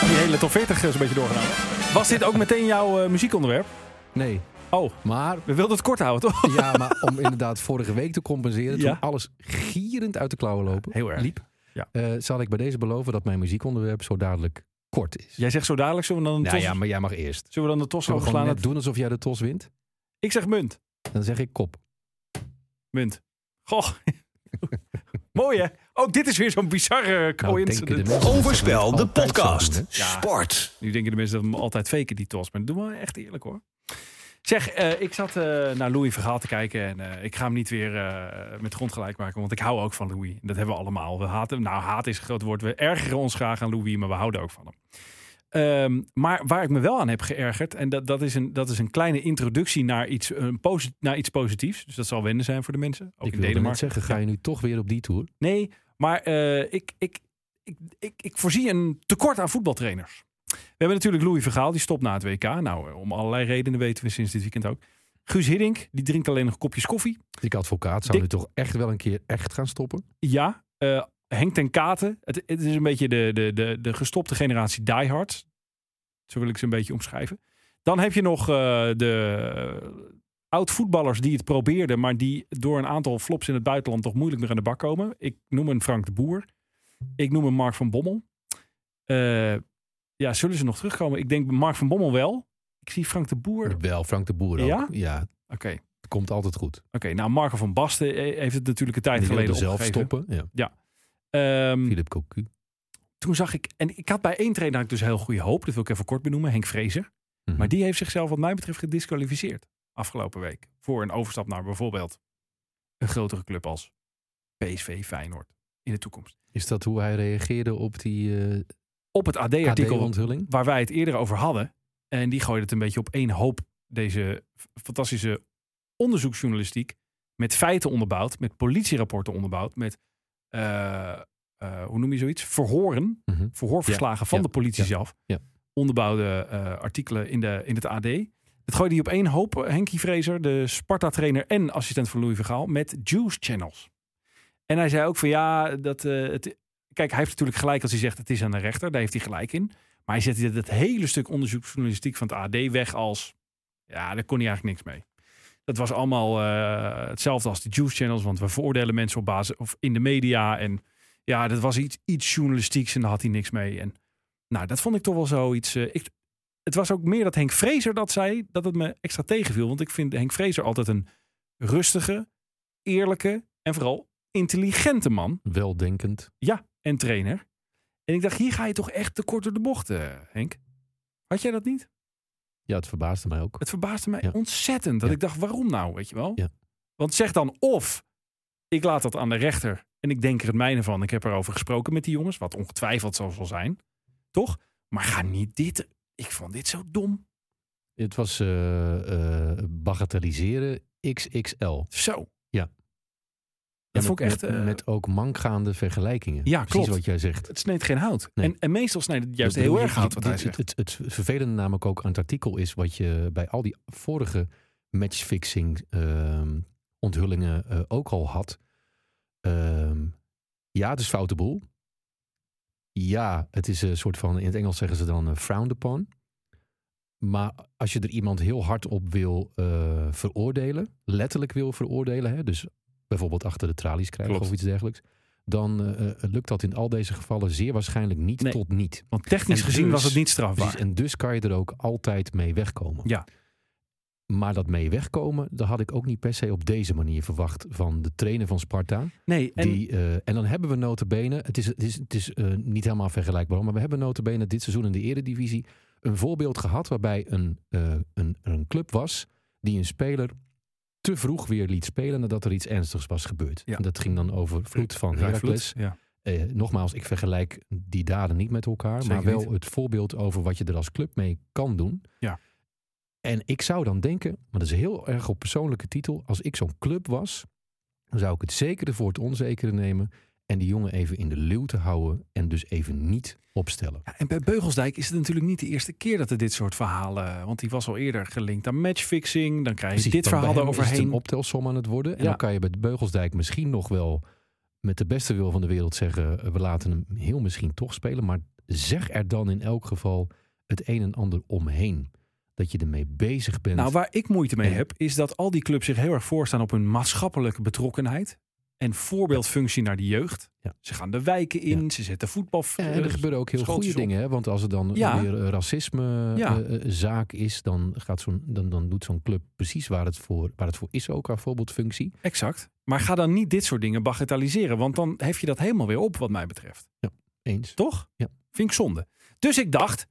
C: die hele top 40 zo'n beetje doorgedaan. hè? Was dit ook meteen jouw eh, muziekonderwerp?
D: Nee,
C: Oh,
D: maar...
C: we wilden het kort houden, toch?
D: Ja, maar om inderdaad vorige week te compenseren, toen
C: Ja.
D: alles gierend uit de klauwen lopen,
C: heel erg.
D: liep,
C: Ja.
D: eh, zal ik bij deze beloven dat mijn muziekonderwerp zo dadelijk kort is.
C: Jij zegt zo dadelijk, zullen we dan de
D: nou
C: tos,
D: ja, maar jij mag eerst.
C: zullen we dan de tos
D: Zullen we gewoon
C: overslaan?
D: net doen alsof jij de tos wint?
C: Ik zeg munt.
D: Dan zeg ik kop.
C: Munt. Goh. Mooi hè? Ook dit is weer zo'n bizarre
D: Nou, denken de
C: coincidence.
D: mensen dat ze
A: Overspel,
D: dat
A: de
D: altijd zo
A: podcast.
D: doen, hè?
A: Sport.
C: Nu denken de mensen dat we hem altijd faken, die tos. Maar doe maar echt eerlijk hoor. Zeg, eh, ik zat eh, naar Louis Vergaal te kijken. En eh, ik ga hem niet weer eh, met grond gelijk maken. Want ik hou ook van Louis. Dat hebben we allemaal. We haten, nou, haat is een groot woord. We ergeren ons graag aan Louis, maar we houden ook van hem. Ehm, maar waar ik me wel aan heb geërgerd. En dat, dat, is, een, dat is een kleine introductie naar iets, een posi- naar iets positiefs. Dus dat zal wennen zijn voor de mensen. Ook
D: Ik
C: in
D: wilde net
C: Denemarken.
D: zeggen, ga je nu toch weer op die tour?
C: Nee, maar eh, ik, ik, ik, ik, ik voorzie een tekort aan voetbaltrainers. We hebben natuurlijk Louis Vergaal, die stopt na het WK. Nou, eh, om allerlei redenen weten we sinds dit weekend ook. Guus Hiddink, die drinkt alleen nog kopjes koffie.
D: Dick Advocaat zou
C: Dick-
D: nu toch echt wel een keer echt gaan stoppen?
C: Ja, eh, Henk ten Katen. Het, het is een beetje de, de, de, de gestopte generatie diehards. Zo wil ik ze een beetje omschrijven. Dan heb je nog eh, de eh, oud-voetballers die het probeerden... maar die door een aantal flops in het buitenland toch moeilijk meer aan de bak komen. Ik noem een Frank de Boer. Ik noem een Mark van Bommel. Eh, ja, zullen ze nog terugkomen? Ik denk Mark van Bommel wel. Ik zie Frank de Boer. Oké,
D: Wel, Frank de Boer ook.
C: Ja?
D: Ja, het
C: oké.
D: komt altijd goed.
C: nou Marco van Basten eh, heeft het natuurlijk een tijd
D: Die wilde
C: geleden
D: zelf
C: opgegeven.
D: stoppen. Ja.
C: Ehm,
D: Philip Cocu.
C: toen zag ik, en ik had bij één trainer had ik dus heel goede hoop, dat wil ik even kort benoemen, Henk Vrezer.
D: Mhm.
C: Maar die heeft zichzelf wat mij betreft gedisqualificeerd afgelopen week. Voor een overstap naar bijvoorbeeld een grotere club als PSV Feyenoord in de toekomst.
D: Is dat hoe hij reageerde op die eh
C: Op het AD-artikel
D: AD-onthulling?
C: waar wij het eerder over hadden, en die gooide het een beetje op één hoop, deze f- fantastische onderzoeksjournalistiek, met feiten onderbouwd, met politierapporten onderbouwd, met, eh, eh, hoe noem je zoiets, verhoren
D: Mhm.
C: verhoorverslagen van
D: ja,
C: de politie
D: ja,
C: zelf.
D: ja.
C: Onderbouwde eh, artikelen in, de, in het AD. Dat gooide hij op één hoop, eh, Henkie Vrezer, de Sparta-trainer en assistent van Louis Vergaal, met juice channels. En hij zei ook van ja, dat eh, het. Kijk, hij heeft natuurlijk gelijk als hij zegt het is aan de rechter, daar heeft hij gelijk in. Maar hij zette dat hele stuk onderzoeksjournalistiek van het AD weg als. Ja, daar kon hij eigenlijk niks mee. Dat was allemaal eh, hetzelfde als de juice channels, want we veroordelen mensen op basis of in de media en ja, dat was iets, iets journalistieks en daar had hij niks mee. En nou, dat vond ik toch wel zoiets. eh, ik, het was ook meer dat Henk Vrezer dat zei, dat het me extra tegenviel. Want ik vind Henk Vrezer altijd een rustige, eerlijke en vooral intelligente man.
D: Weldenkend.
C: Ja, en trainer. En ik dacht, hier ga je toch echt te kort door de bocht, eh, Henk. Had jij dat niet?
D: Ja, het verbaasde mij ook.
C: Het verbaasde mij
D: Ja.
C: ontzettend. Dat
D: Ja.
C: ik dacht, waarom nou, weet je wel?
D: Ja.
C: Want zeg dan of, ik laat dat aan de rechter en ik denk er het mijne van. Ik heb erover gesproken met die jongens, wat ongetwijfeld zo zal zijn. Toch? Maar ga niet dit... Ik vond dit zo dom.
D: Het was eh, eh, bagatelliseren XXL.
C: Zo.
D: En
C: vond ik
D: met-
C: echt, eh,
D: Met, ook mankgaande vergelijkingen.
C: Ja,
D: Precies
C: klopt.
D: wat jij zegt.
C: Het sneedt geen hout.
D: Nee.
C: En, en meestal snijdt het juist
D: Ik bedoel,
C: heel
D: je-
C: erg hout
D: je-
C: wat hij
D: dit-
C: zegt.
D: Het, het, het vervelende namelijk ook aan het artikel is... wat je bij al die vorige matchfixing ehm, onthullingen eh, ook al had. Ehm, ja, het is foute boel. Ja, het is een soort van... in het Engels zeggen ze dan eh, frowned upon. Maar als je er iemand heel hard op wil eh, veroordelen... letterlijk wil veroordelen... Hè, dus bijvoorbeeld achter de tralies krijgen
C: Klopt.
D: of iets dergelijks... dan eh, eh, lukt dat in al deze gevallen zeer waarschijnlijk niet
C: Nee.
D: tot niet.
C: Want technisch
D: en
C: gezien
D: dus-
C: was het niet strafbaar.
D: Precies, en dus kan je er ook altijd mee wegkomen.
C: Ja.
D: Maar dat mee wegkomen, dat had ik ook niet per se op deze manier verwacht van de trainer van Sparta.
C: nee, en
D: die, eh, en dan hebben we notabene, het is, het is, het is eh, niet helemaal vergelijkbaar, maar we hebben notabene dit seizoen in de eredivisie een voorbeeld gehad waarbij een, eh, een, een club was die een speler te vroeg weer liet spelen nadat er iets ernstigs was gebeurd.
C: Ja.
D: En dat ging dan over Vloed van
C: Ruud Vloed,
D: Heracles.
C: Ja.
D: eh, nogmaals, ik vergelijk die daden niet met elkaar,
C: Zeker
D: maar wel
C: niet.
D: het voorbeeld over wat je er als club mee kan doen.
C: Ja.
D: En ik zou dan denken, maar dat is heel erg op persoonlijke titel, als ik zo'n club was, dan zou ik het zekere voor het onzekere nemen en die jongen even in de leeuw te houden en dus even niet opstellen.
C: Ja, en bij Beugelsdijk is het natuurlijk niet de eerste keer dat er dit soort verhalen. Want die was al eerder gelinkt aan matchfixing. Dan krijg je
D: Precies,
C: Dus dit
D: want bij
C: verhaal
D: hem is het
C: eroverheen.
D: een optelsom aan het worden. En
C: Ja.
D: dan kan je bij Beugelsdijk misschien nog wel met de beste wil van de wereld zeggen... eh, we laten hem heel misschien toch spelen. Maar zeg er dan in elk geval het een en ander omheen. Dat je ermee bezig bent.
C: Nou, waar ik moeite mee
D: En-
C: heb, is dat al die clubs zich heel erg voorstaan op hun maatschappelijke betrokkenheid. En voorbeeldfunctie naar de jeugd.
D: Ja.
C: Ze gaan de wijken in, ze zetten voetbal. eh,
D: Ja, en er gebeuren ook heel goede
C: schooltjes op.
D: dingen. Hè? Want als er dan
C: Ja.
D: weer eh,
C: Ja.
D: racismezaak eh, is... Dan, gaat zo'n, dan, dan doet zo'n club precies waar het, voor, waar het voor is ook haar voorbeeldfunctie.
C: Exact. Maar ga dan niet dit soort dingen bagatelliseren. Want dan hef je dat helemaal weer op, wat mij betreft.
D: Eens.
C: Toch?
D: Ja.
C: Vind ik zonde. Dus ik dacht,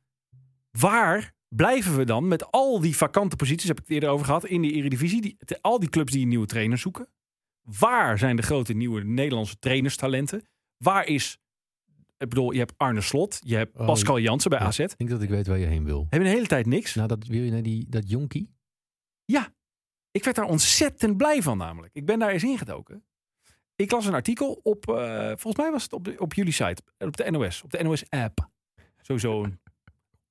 C: waar blijven we dan met al die vakante posities, heb ik het eerder over gehad, in de Eredivisie, die, te- al die clubs die een nieuwe trainer zoeken. Waar zijn de grote nieuwe Nederlandse trainerstalenten? Waar is, ik bedoel, je hebt Arne Slot, je hebt
D: Oh,
C: Pascal Jansen bij
D: ja.
C: AZ.
D: Ik denk dat ik weet waar je heen wil.
C: Hebben de hele tijd niks.
D: Nou, dat, wil je naar die, dat jonkie?
C: Ik werd daar ontzettend blij van namelijk. Ik ben daar eens ingedoken. Ik las een artikel op, eh, volgens mij was het op, de, op jullie site, op de NOS, op de NOS-app. Sowieso een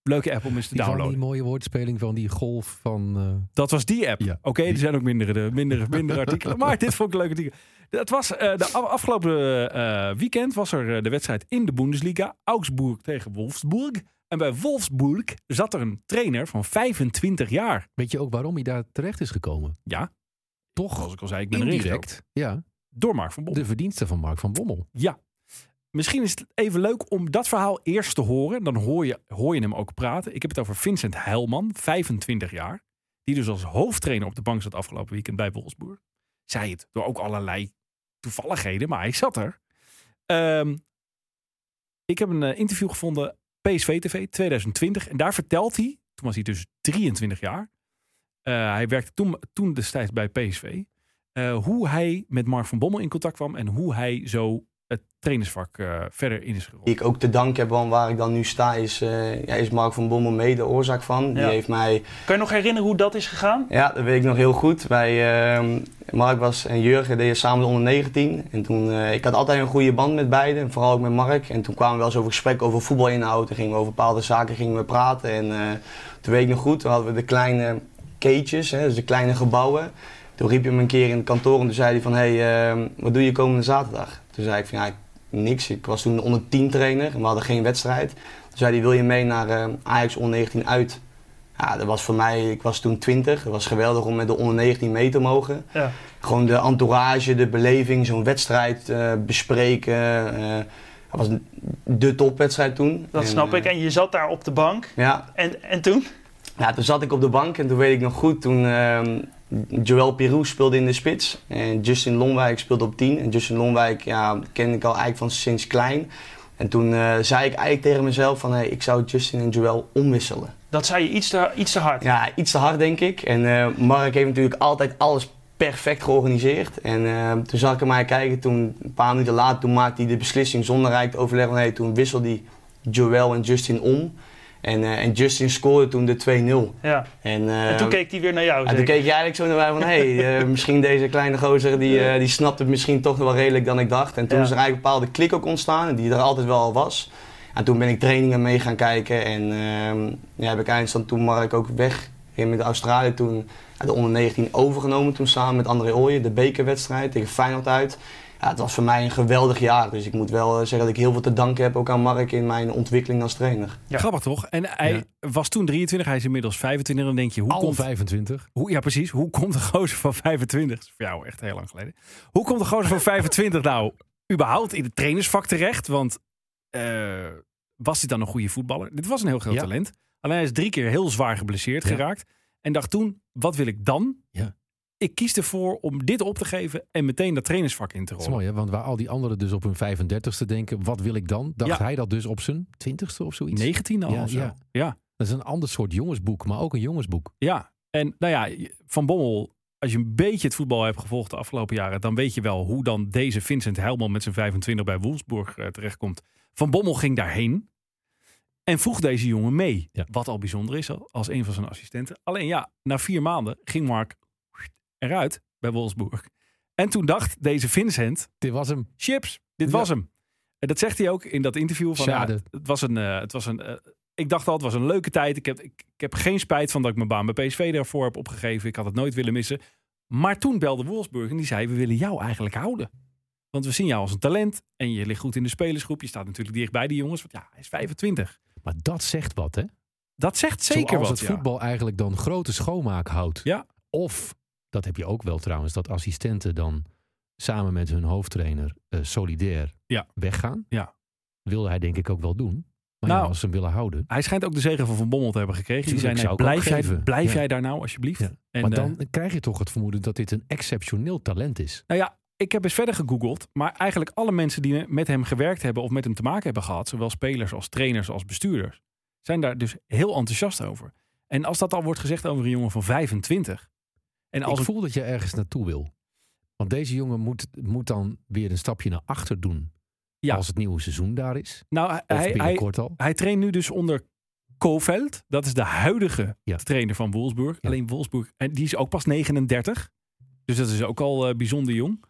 C: leuke app om eens te
D: Die, van
C: downloaden.
D: die mooie woordspeling van die golf van... eh,
C: Dat was die app.
D: Ja,
C: Oké, er zijn ook mindere, de- mindere, mindere artikelen. Maar dit vond ik een leuk artikel. Het was, eh, de af- afgelopen eh, weekend was er eh, de wedstrijd in de Bundesliga. Augsburg tegen Wolfsburg. En bij Wolfsburg zat er een trainer van 25 jaar.
D: Weet je ook waarom hij daar terecht is gekomen?
C: Ja,
D: Toch
C: zoals ik al zei, ik ben erin gedoken.
D: indirect ja,
C: Door Mark van Bommel.
D: de verdiensten van Mark van Bommel.
C: Ja. Misschien is het even leuk om dat verhaal eerst te horen. Dan hoor je, hoor je hem ook praten. Ik heb het over Vincent Heilman, 25 jaar. Die dus als hoofdtrainer op de bank zat afgelopen weekend bij Wolfsburg. Zei het door ook allerlei toevalligheden, maar hij zat er. Ehm, ik heb een eh, interview gevonden, PSV TV 2020. En daar vertelt hij, toen was hij dus 23 jaar. eh, hij werkte toen, toen destijds bij PSV. eh, hoe hij met Mark van Bommel in contact kwam en hoe hij zo het trainersvak eh, verder in is gerold.
J: Die ik ook te danken heb aan waar ik dan nu sta, is, eh, ja, is Mark van Bommel mede de oorzaak van. Die
I: Ja.
J: heeft mij,
I: Kan je nog herinneren hoe dat is gegaan?
J: ja, dat weet ik nog heel goed. Wij, ehm, Mark was en Jurgen deden samen de onder 19. En toen, eh, ik had altijd een goede band met beiden, en vooral ook met Mark. En toen kwamen we wel eens over gesprek over voetbalinhoud. En gingen we over bepaalde zaken gingen we praten. En eh, toen weet ik nog goed, toen hadden we de kleine keetjes, hè, dus de kleine gebouwen. Toen riep je me een keer in het kantoor en toen zei hij van, hé, hey, ehm, wat doe je komende zaterdag? Toen zei ik van, ja, ik- niks. Ik was toen de onder 10 trainer en we hadden geen wedstrijd. Toen zei hij, wil je mee naar eh, Ajax onder 19 uit? Ja, dat was voor mij, ik was toen 20. Het was geweldig om met de onder 19 mee te mogen.
I: Ja.
J: Gewoon de entourage, de beleving, zo'n wedstrijd eh, bespreken. eh, dat was de topwedstrijd toen.
I: Dat
J: En,
I: snap
J: eh,
I: ik. En je zat daar op de bank.
J: ja,
I: En, en toen?
J: ja, toen zat ik op de bank en toen weet ik nog goed, toen ehm, Joël Pirou speelde in de spits en Justin Lonwijk speelde op 10. En Justin Lonwijk ja, kende ik al eigenlijk van sinds klein. En toen eh, zei ik eigenlijk tegen mezelf van hey, ik zou Justin en Joël omwisselen.
I: Dat zei je iets te, iets te hard.
J: Ja, iets te hard denk ik. En eh, Mark heeft natuurlijk altijd alles perfect georganiseerd. En eh, toen zag ik hem eigenlijk kijken, toen, een paar minuten later, toen maakte hij de beslissing zonder eigenlijk te overleggen. Nee, toen wisselde hij Joël en Justin om. En, eh, en Justin scoorde toen de 2-0.
I: Ja.
J: En, eh,
I: En toen keek hij weer naar jou.
J: ja, toen
I: zeker?
J: keek je eigenlijk zo naar mij van, hé, hey, eh, misschien deze kleine gozer, die, eh, die snapt het misschien toch nog wel redelijk dan ik dacht. En toen
I: Ja.
J: is er eigenlijk een bepaalde klik ook ontstaan, die er altijd wel al was. En toen ben ik trainingen mee gaan kijken en ehm, ja, heb ik eindstand toen Mark ook weg ging met Australië toen ja, de onder 19 overgenomen toen samen met André Ooyen, de bekerwedstrijd tegen Feyenoord uit. Ja, het was voor mij een geweldig jaar, dus ik moet wel eh, zeggen dat ik heel veel te danken heb ook aan Mark in mijn ontwikkeling als trainer.
I: Ja.
C: Grappig toch? En hij was toen 23, hij is inmiddels 25. En dan denk je, hoe
D: Al
C: komt
D: 25.
C: Hoe, ja, precies. Hoe komt de gozer van 25? Dat is voor jou echt heel lang geleden. Hoe komt de gozer van 25 nou überhaupt in het trainersvak terecht? Want eh, was hij dan een goede voetballer? Dit was een heel groot
D: Ja.
C: talent. Alleen hij is drie keer heel zwaar geblesseerd
D: Ja.
C: geraakt. En dacht toen, wat wil ik dan?
D: Ja.
C: Ik kies ervoor om dit op te geven en meteen dat trainersvak in te
D: Dat is
C: rollen.
D: mooi, hè? Want waar al die anderen dus op hun 35ste denken, wat wil ik dan? Dacht
C: Ja.
D: hij dat dus op zijn 20ste of zoiets?
C: 19 al
D: Ja,
C: of zo.
D: ja.
C: ja.
D: Dat is een ander soort jongensboek, maar ook een jongensboek.
C: Ja, en nou ja, Van Bommel als je een beetje het voetbal hebt gevolgd de afgelopen jaren, dan weet je wel hoe dan deze Vincent Heilman met zijn 25 bij Wolfsburg eh, terechtkomt. Van Bommel ging daarheen en vroeg deze jongen mee.
D: Ja.
C: Wat al bijzonder is al- als een van zijn assistenten. Alleen ja, na vier maanden ging Mark eruit bij Wolfsburg. En toen dacht deze Vincent,
D: Dit was hem.
C: chips, dit
D: Ja.
C: was hem. En dat zegt hij ook in dat interview. Van, ja,
D: Schade.
C: het, het was een, eh, het was een, eh, ik dacht al, het was een leuke tijd. Ik heb, ik, ik heb geen spijt van dat ik mijn baan bij PSV daarvoor heb opgegeven. Ik had het nooit willen missen. Maar toen belde Wolfsburg en die zei, we willen jou eigenlijk houden. Want we zien jou als een talent en je ligt goed in de spelersgroep. Je staat natuurlijk dicht bij die jongens, want ja, hij is 25.
D: Maar dat zegt wat, hè?
C: Dat zegt zeker
D: Zoals
C: wat.
D: het
C: ja.
D: voetbal eigenlijk dan grote schoonmaak houdt.
C: Ja.
D: Of, dat heb je ook wel trouwens, dat assistenten dan samen met hun hoofdtrainer eh, solidair
C: Ja.
D: weggaan.
C: Ja.
D: Wilde hij denk ik ook wel doen. Maar
C: Nou.
D: ja, als ze hem willen houden.
C: Hij schijnt ook de zegen van Van Bommel te hebben gekregen. Die
D: Tuurlijk,
C: zei, nee,
D: zou ik
C: blijf,
D: ook
C: jij,
D: geven.
C: blijf
D: Ja.
C: jij daar nou alsjeblieft.
D: Ja.
C: En,
D: maar
C: eh,
D: dan krijg je toch het vermoeden dat dit een exceptioneel talent is.
C: Nou ja, ik heb eens verder gegoogeld. Maar eigenlijk alle mensen die met hem gewerkt hebben of met hem te maken hebben gehad, zowel spelers als trainers als bestuurders, zijn daar dus heel enthousiast over. En als dat al wordt gezegd over een jongen van 25. En als
D: ik
C: een-
D: voel dat je ergens naartoe wil. Want deze jongen moet, moet dan weer een stapje naar achter doen.
C: Ja.
D: Als het nieuwe seizoen daar is.
C: nou, hij,
D: Of
C: hij, hij,
D: binnenkort al.
C: traint nu dus onder Koveld. Dat is de huidige
D: Ja.
C: trainer van Wolfsburg.
D: Ja.
C: Alleen Wolfsburg, en die is ook pas 39. Dus dat is ook al eh, bijzonder jong.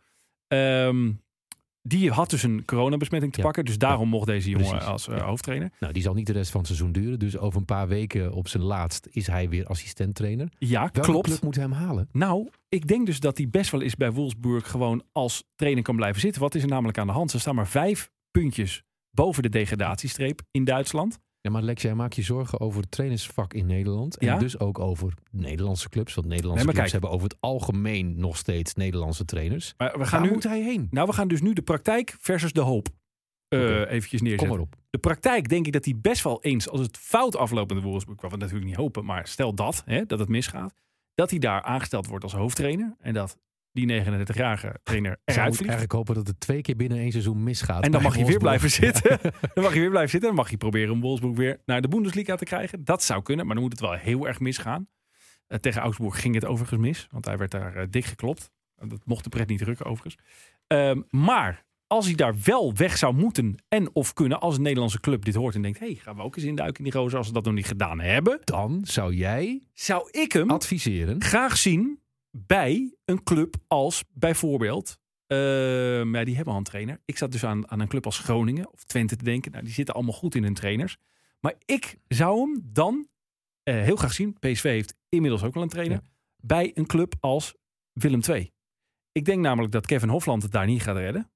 C: Ehm, die had dus een coronabesmetting te
D: Ja.
C: pakken. Dus daarom mocht deze jongen
D: Precies.
C: als eh,
D: Ja.
C: hoofdtrainer.
D: Nou, die zal niet de rest van het seizoen duren. Dus over een paar weken op zijn laatst is hij weer assistenttrainer.
C: Ja,
D: Welke
C: klopt.
D: club moet hem halen?
C: Nou, ik denk dus dat hij best wel eens bij Wolfsburg gewoon als trainer kan blijven zitten. Wat is er namelijk aan de hand? Ze staan maar vijf puntjes boven de degradatiestreep in Duitsland.
D: Ja, maar Lex, jij maakt je zorgen over het trainersvak in Nederland. En
C: Ja.
D: dus ook over Nederlandse clubs. Want Nederlandse
C: Nee, maar
D: clubs hebben over het algemeen nog steeds Nederlandse trainers.
C: Maar we gaan,
D: Waar
C: nu,
D: moet hij heen?
C: nou, we gaan dus nu de praktijk versus de hoop eh,
D: Oké.
C: eventjes
D: Kom
C: neerzetten.
D: maar op.
C: De praktijk denk ik dat hij best wel eens, als het fout afloopt in de Wolfsburg, wat we natuurlijk niet hopen, maar stel dat, hè, dat het misgaat, dat hij daar aangesteld wordt als hoofdtrainer en dat die 39-jarige trainer
D: Zou
C: eruit
D: ik
C: vliegt.
D: eigenlijk hopen dat het twee keer binnen één seizoen misgaat.
C: En dan
D: bij
C: mag je weer blijven
D: Wolfsburg. Ja.
C: zitten. Dan mag je weer blijven zitten. Dan mag je proberen om Wolfsburg weer naar de Bundesliga te krijgen. Dat zou kunnen, maar dan moet het wel heel erg misgaan. Eh, tegen Augsburg ging het overigens mis, want hij werd daar eh, dik geklopt. Eh, Dat mocht de pret niet drukken, overigens. Ehm, maar als hij daar wel weg zou moeten en of kunnen, als een Nederlandse club dit hoort en denkt: hey, gaan we ook eens induiken in die gozer als ze dat nog niet gedaan hebben?
D: Dan zou jij
C: Zou ik
D: Hm?
C: hem
D: adviseren.
C: graag zien bij een club als bijvoorbeeld. ehm, ja, die hebben al een trainer. Ik zat dus aan, aan een club als Groningen of Twente te denken. Nou, die zitten allemaal goed in hun trainers. Maar ik zou hem dan eh, heel graag zien. PSV heeft inmiddels ook wel een trainer. Bij een club als Willem II. Ik denk namelijk dat Kevin Hofland het daar niet gaat redden.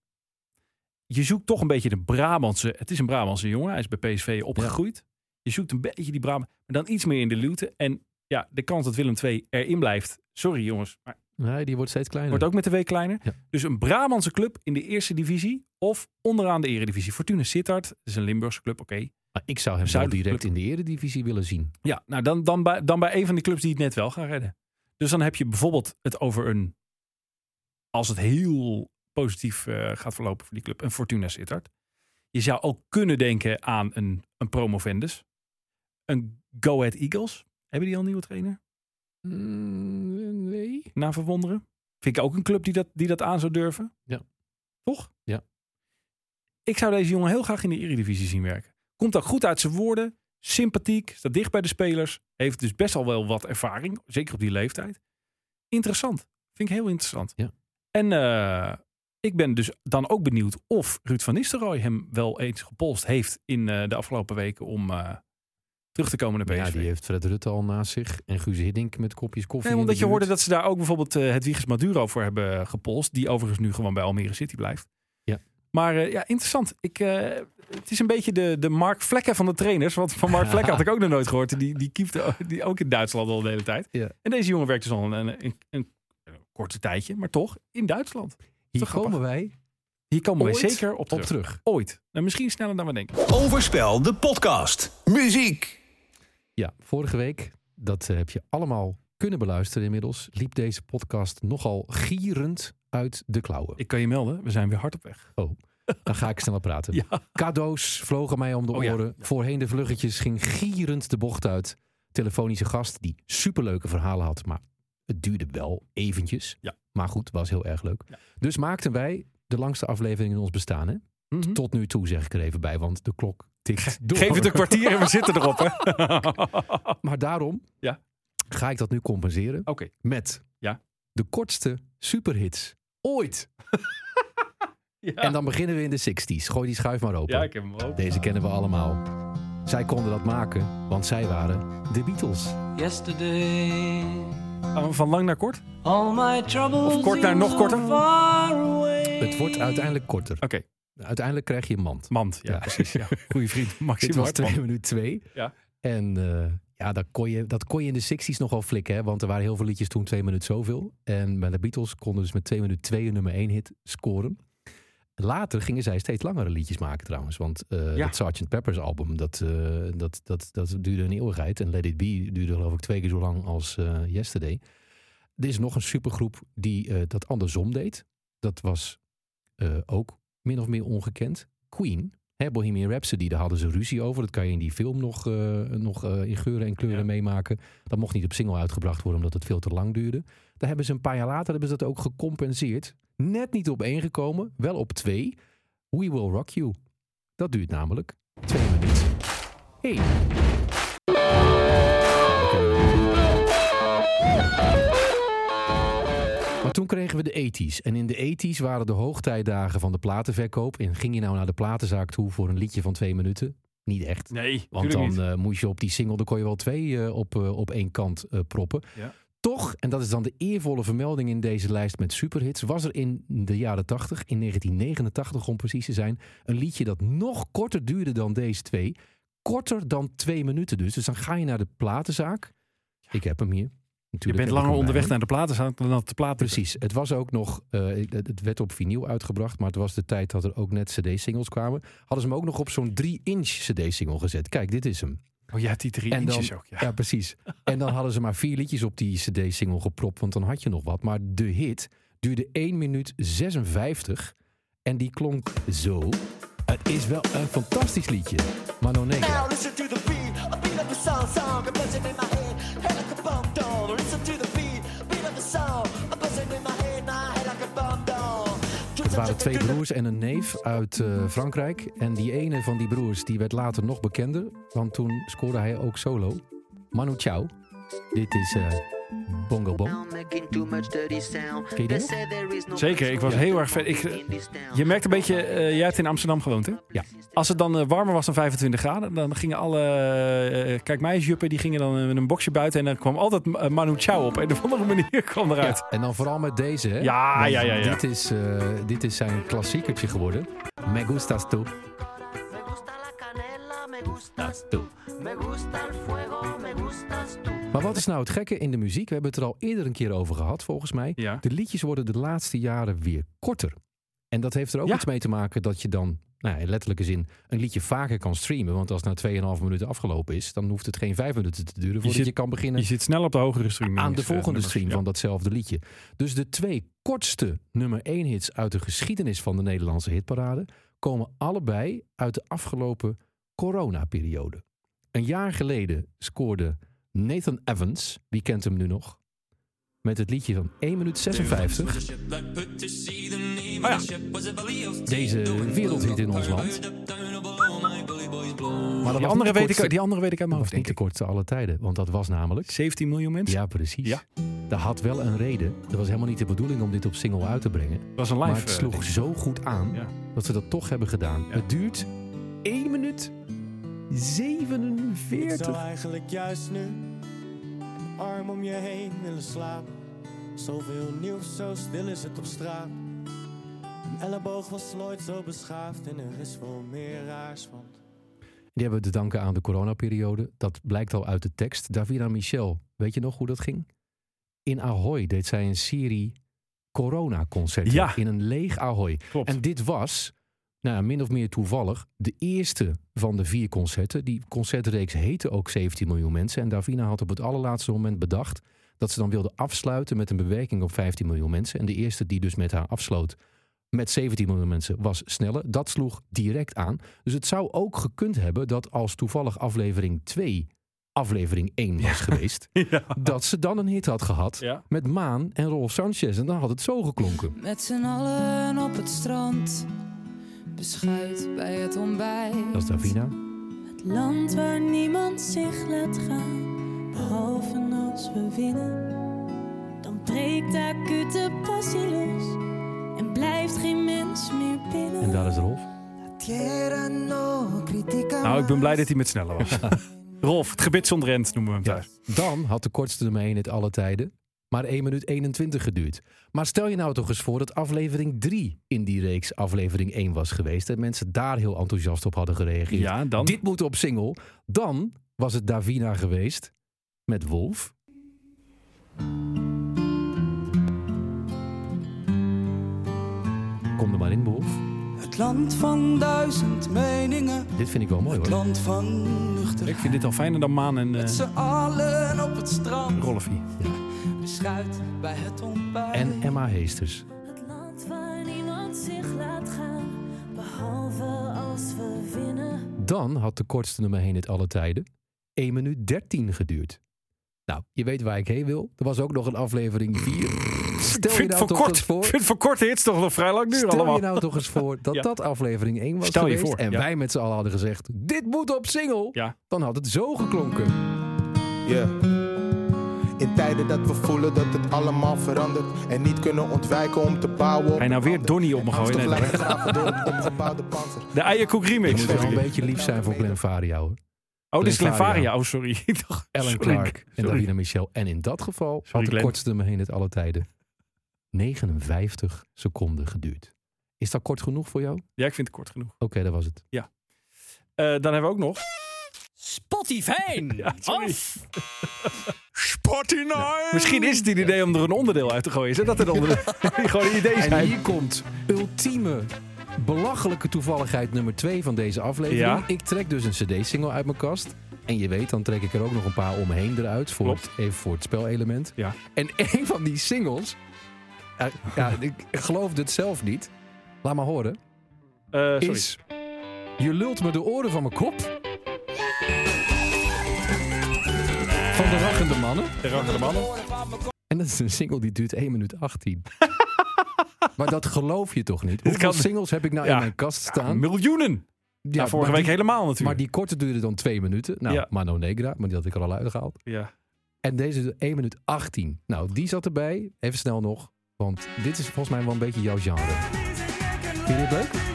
C: Je zoekt toch een beetje de Brabantse. Het is een Brabantse jongen. Hij is bij PSV opgegroeid. Je zoekt een beetje die Brabant. Maar dan iets meer in de luwte. En ja, de kans dat Willem II erin blijft. Sorry jongens, maar
D: Nee, die wordt steeds kleiner.
C: wordt ook met de week kleiner.
D: Ja.
C: Dus een Brabantse club in de eerste divisie of onderaan de eredivisie. Fortuna Sittard, dat is een Limburgse club, oké.
D: Maar ik zou hem wel
C: Zuidelijke
D: direct in
C: club.
D: de eredivisie willen zien.
C: Ja, nou dan, dan, bij, dan bij een van die clubs die het net wel gaan redden. Dus dan heb je bijvoorbeeld het over een, als het heel positief eh, gaat verlopen voor die club, een Fortuna Sittard. Je zou ook kunnen denken aan een, een promovendus. Een Go Ahead Eagles. Hebben die al een nieuwe trainer?
D: Mm, nee.
C: na verwonderen. Vind ik ook een club die dat, die dat aan zou durven.
D: Ja.
C: Toch?
D: Ja.
C: Ik zou deze jongen heel graag in de Eredivisie zien werken. Komt ook goed uit zijn woorden. Sympathiek. Staat dicht bij de spelers. Heeft dus best al wel wat ervaring. Zeker op die leeftijd. Interessant. Vind ik heel interessant.
D: Ja.
C: En eh, ik ben dus dan ook benieuwd of Ruud van Nistelrooy hem wel eens gepolst heeft in eh, de afgelopen weken om eh, terug te komen naar
D: Ja,
C: PSV.
D: die heeft Fred Rutte al naast zich. En Guus Hiddink met kopjes koffie.
C: Nee,
D: in
C: omdat
D: de
C: je
D: buurt.
C: hoorde dat ze daar ook bijvoorbeeld eh, het Wiegers Maduro voor hebben eh, gepolst. Die overigens nu gewoon bij Almere City blijft.
D: Ja.
C: Maar eh, ja, interessant. Ik, eh, het is een beetje de, de Mark Vlekken van de trainers. Want van Mark Vlekken had ik ook nog nooit gehoord. Die, die keepte die ook in Duitsland al de hele tijd.
D: Ja.
C: En deze jongen werkt dus al een, een, een, een korte tijdje. Maar toch in Duitsland.
D: Hier
C: Toch grappig.
D: komen wij
C: Hier komen wij
D: Ooit
C: zeker op
D: op
C: terug.
D: terug.
C: Ooit. Nou, misschien sneller dan we denken.
A: Overspel, de podcast. Muziek.
D: Ja, vorige week, dat eh, heb je allemaal kunnen beluisteren inmiddels, liep deze podcast nogal gierend uit de klauwen.
C: Ik kan je melden, we zijn weer hard op weg.
D: Oh, dan ga ik sneller praten.
C: Ja.
D: Cadeaus vlogen mij om de
C: Oh, ja.
D: oren. Voorheen de vluggetjes ging gierend de bocht uit. Telefonische gast die superleuke verhalen had, maar Het duurde wel eventjes.
C: Ja.
D: Maar goed, was heel erg leuk. Dus maakten wij de langste aflevering in ons bestaan. Hè?
C: Mhm.
D: Tot nu toe zeg ik er even bij, want de klok tikt door.
C: Geef het een kwartier en we zitten erop, hè? Oké.
D: Maar daarom
C: Ja.
D: ga ik dat nu compenseren met
C: Ja.
D: de kortste superhits ooit.
C: Ja.
D: En dan beginnen we in de 60s. Gooi die schuif maar open.
C: ja, ik heb hem ook.
D: Deze kennen we allemaal. Zij konden dat maken, want zij waren de Beatles.
K: Yesterday,
C: Gaan we van lang naar kort?
K: all my troubles
C: Of kort naar
K: seem
C: nog
K: so
C: korter?
K: far away.
D: Het wordt uiteindelijk korter.
C: Oké,
D: Uiteindelijk krijg je een mand.
C: mand. Ja,
D: Ja.
C: precies. Ja. Goeie vriend,
D: Dit
C: Maxime
D: was
C: Hartman.
D: 2 minuut 2.
C: Ja.
D: En eh, ja, dat kon, je, dat kon je in de 60s nogal flikken. Hè? Want er waren heel veel liedjes toen 2 minuten zoveel. En maar de Beatles konden dus met 2 minuten 2 een nummer 1 hit scoren. Later gingen zij steeds langere liedjes maken trouwens. Want eh
C: Ja.
D: dat Sgt. Pepper's album, dat, eh, dat, dat, dat duurde een eeuwigheid. En Let It Be duurde geloof ik twee keer zo lang als eh, Yesterday. Er is nog een supergroep die eh, dat andersom deed. Dat was eh, ook min of meer ongekend. Queen, hè, Bohemian Rhapsody, daar hadden ze ruzie over. Dat kan je in die film nog, eh, nog eh, in geuren en kleuren
C: Ja.
D: meemaken. Dat mocht niet op single uitgebracht worden, omdat het veel te lang duurde. Daar hebben ze een paar jaar later hebben ze dat ook gecompenseerd. Net niet op één gekomen, wel op twee. We Will Rock You. Dat duurt namelijk twee minuten. Hey. Maar toen kregen we de 80s. En in de 80s waren de hoogtijdagen van de platenverkoop. En ging je nou naar de platenzaak toe voor een liedje van twee minuten? Niet echt.
C: Nee,
D: Want
C: tuurlijk
D: dan
C: niet.
D: eh, moest je op die single, dan kon je wel twee eh, op, eh, op één kant eh, proppen.
C: Ja.
D: Toch, en dat is dan de eervolle vermelding in deze lijst met superhits, was er in de jaren 80, in 1989 om precies te zijn, een liedje dat nog korter duurde dan deze twee. Korter dan twee minuten dus. Dus dan ga je naar de platenzaak. Ik heb hem hier.
C: Je
D: Natuurlijk
C: bent
D: heb ik
C: langer
D: hem bij
C: onderweg
D: me.
C: naar de platen dan op de platen.
D: Precies. Het was ook nog, eh, het het werd op vinyl uitgebracht, maar het was de tijd dat er ook net CD-singles kwamen. Hadden ze hem ook nog op zo'n 3-inch CD-single gezet. Kijk, dit is hem.
C: Oh, je hebt die drie
D: En dan-
C: inches ook. Ja.
D: Ja, precies. En dan hadden ze maar vier liedjes op die CD-single gepropt, want dan had je nog wat. Maar de hit duurde 1 minuut 56 en die klonk zo. Het is wel een fantastisch liedje. Maar no
L: Now
D: nega.
L: listen to the beat, a beat of the sound, song, a buzzing in my head, head like a bomb doll. Listen to the beat, beat of the sound, a buzzing in my head, my head like a bomb doll.
D: Het waren twee broers en een neef uit eh, Frankrijk. En die ene van die broers die werd later nog bekender, want toen scoorde hij ook solo. Manu Chao. Dit is eh, Bongo Bong. Ken je die nog?
C: Zeker, ik was heel erg vet. Ik, eh, je merkt een beetje, eh, jij hebt in Amsterdam gewoond, hè?
D: Ja.
C: Als het dan eh, warmer was dan 25 graden, dan gingen alle eh, kijk mij eens juppen, die gingen dan eh, met een boxje buiten en dan kwam altijd eh, Manu Chao op. En op een andere manier kwam eruit.
D: Ja, en dan vooral met deze, hè?
C: Ja,
D: Want
C: ja, ja, ja.
D: Dit is, eh, dit is zijn klassiekertje geworden. Me gustas tú. Gustas tú. Maar wat is nou het gekke in de muziek? We hebben het er al eerder een keer over gehad, volgens mij.
C: Ja.
D: De liedjes worden de laatste jaren weer korter. En dat heeft er ook
C: Ja.
D: iets mee te maken dat je dan, nou, ja, in letterlijke zin, een liedje vaker kan streamen. Want als het na 2,5 minuten afgelopen is, dan hoeft het geen 5 minuten te duren voordat je,
C: zit-
D: kan beginnen
C: Je zit snel op de hogere stream. eh, dus,
D: aan de volgende stream
C: Ja.
D: van datzelfde liedje. Dus de twee kortste nummer 1 hits uit de geschiedenis van de Nederlandse hitparade komen allebei uit de afgelopen coronaperiode. Een jaar geleden scoorde Nathan Evans, wie kent hem nu nog, met het liedje van 1 minuut 56,
C: Oh
D: deze wereldhit in ons land. Maar dat
C: Die
D: was
C: andere,
D: niet de
C: weet
D: kortste-
C: ik, die andere weet ik uit mijn
D: dat was
C: hoofd,
D: niet
C: denk
D: de
C: ik.
D: kortste alle tijden, want dat was namelijk
C: 17 miljoen mensen?
D: Ja, precies.
C: Ja.
D: Dat had wel een reden. Dat was helemaal niet de bedoeling om dit op single uit te brengen.
C: Dat was een live.
D: maar het
C: eh,
D: sloeg
C: ding.
D: zo goed aan
C: Ja.
D: dat ze dat toch hebben gedaan.
C: Ja.
D: Het duurt 1 minuut 47.
L: eigenlijk juist nu een arm om je heen willen slapen. Zoveel nieuws, zo stil is het op straat. Een elleboog was nooit zo beschaafd en er is veel meer raars, want...
D: Die hebben we te danken aan de coronaperiode. Dat blijkt al uit de tekst. Davina Michel, weet je nog hoe dat ging? In Ahoy deed zij een serie coronaconcerten.
C: Ja.
D: In een leeg Ahoy.
C: Klopt.
D: En dit was, nou ja, min of meer toevallig, de eerste van de vier concerten. Die concertreeks heette ook 17 miljoen mensen. En Davina had op het allerlaatste moment bedacht dat ze dan wilde afsluiten met een bewerking op 15 miljoen mensen. En de eerste die dus met haar afsloot met 17 miljoen mensen was sneller. Dat sloeg direct aan. Dus het zou ook gekund hebben dat als toevallig aflevering 2 aflevering 1 was geweest. Dat ze dan een hit had gehad met Maan en Rolf Sanchez. En dan had het zo geklonken.
M: Met z'n allen op het strand, beschuit bij het ontbijt.
D: Dat is Davina.
M: Het
N: Land waar niemand zich laat gaan, behalve als we winnen. Dan breekt de acute passie los en blijft geen mens meer binnen.
D: En daar is Rolf.
C: Nou, ik ben blij dat hij met sneller was. Rolf, het gebit zonder rent noemen we hem thuis.
D: Dan had de kortste domein het alle tijden maar 1 minuut 21 geduurd. Maar stel je nou toch eens voor dat aflevering 3 in die reeks aflevering 1 was geweest. En mensen daar heel enthousiast op hadden gereageerd.
C: Ja, dan?
D: Dit moet op single. Dan was het Davina geweest met Wolf. Kom er maar in, Wolf.
K: Het land van duizend meningen.
D: Dit vind ik wel mooi
K: Het
D: hoor.
K: land van nuchter.
C: Ik vind dit al fijner dan Maan en
K: Met
C: eh
K: z'n allen op het strand.
C: Rolfie.
K: Beschuit bij het ontbijt.
D: En Emma Heesters.
N: land waar niemand zich laat gaan, behalve als we winnen.
D: Dan had de kortste nummer heen het alle tijden 1 minuut 13 geduurd. Nou, je weet waar ik heen wil. Er was ook nog een aflevering 4. Stel je
C: vind
D: nou
C: voor
D: toch
C: kort,
D: eens voor...
C: ik vind voor korte hits toch nog vrij lang duren
D: Stel
C: allemaal.
D: je nou toch eens voor dat dat aflevering 1 was
C: Stel je
D: geweest
C: voor,
D: en
C: ja.
D: wij met z'n allen hadden gezegd... Dit moet op single! Dan had het zo geklonken.
O: Yeah. In tijden dat we voelen dat het allemaal verandert en niet kunnen ontwijken om te bouwen op
C: Hij nou weer Donnie op me gooien.
O: Angstig
C: Nee,
O: blijven
C: nee.
O: graven door het opgebouwde panzer.
C: De Eierkoek
D: Je
C: remix.
D: moet wel een beetje lief zijn voor Glenfaria hoor.
C: Oh, dit is Glenfaria. Oh, sorry. Ik dacht-
D: Ellen
C: sorry.
D: Clark en
C: Sorry.
D: Davina Michel. En in dat geval had de
C: Glenn.
D: kortste me heen het alle tijden 59 seconden geduurd. Is dat kort genoeg voor jou? Oké,
C: Ja, ik vind het kort genoeg.
D: dat was het.
C: Ja. Eh, dan hebben we ook nog...
P: Spotify!
C: Ah,
P: of
C: Spotify! misschien is het een idee om er een onderdeel uit te gooien. Is dat het onderdeel? Gewoon een idee
D: En
C: zijn.
D: hier komt ultieme belachelijke toevalligheid nummer 2 van deze aflevering.
C: Ja.
D: Ik trek dus een cd-single uit mijn kast. En je weet, dan trek ik er ook nog een paar omheen eruit. Voor het, even voor het spelelement. En een van die singles... eh, ja, ik geloofde het zelf niet. Laat maar horen.
C: Ah, Eh, sorry.
D: Is... Je lult me de oren van mijn kop. Van de raggende mannen.
C: De raggende mannen.
D: En dat is een single die duurt 1 minuut 18. maar dat geloof je toch
C: Dit
D: niet? Hoeveel
C: kan-
D: singles heb ik nou
C: Ja.
D: in mijn kast staan?
C: miljoenen. Nou, vorige
D: maar
C: week helemaal natuurlijk.
D: Maar die korte duurde dan 2 minuten. Nou,
C: Ja.
D: Mano Negra, maar die had ik er al uitgehaald.
C: Ja.
D: En deze duurt 1 minuut 18. Nou, die zat erbij. Even snel nog. Want dit is volgens mij wel een beetje jouw genre. Vind je dit leuk?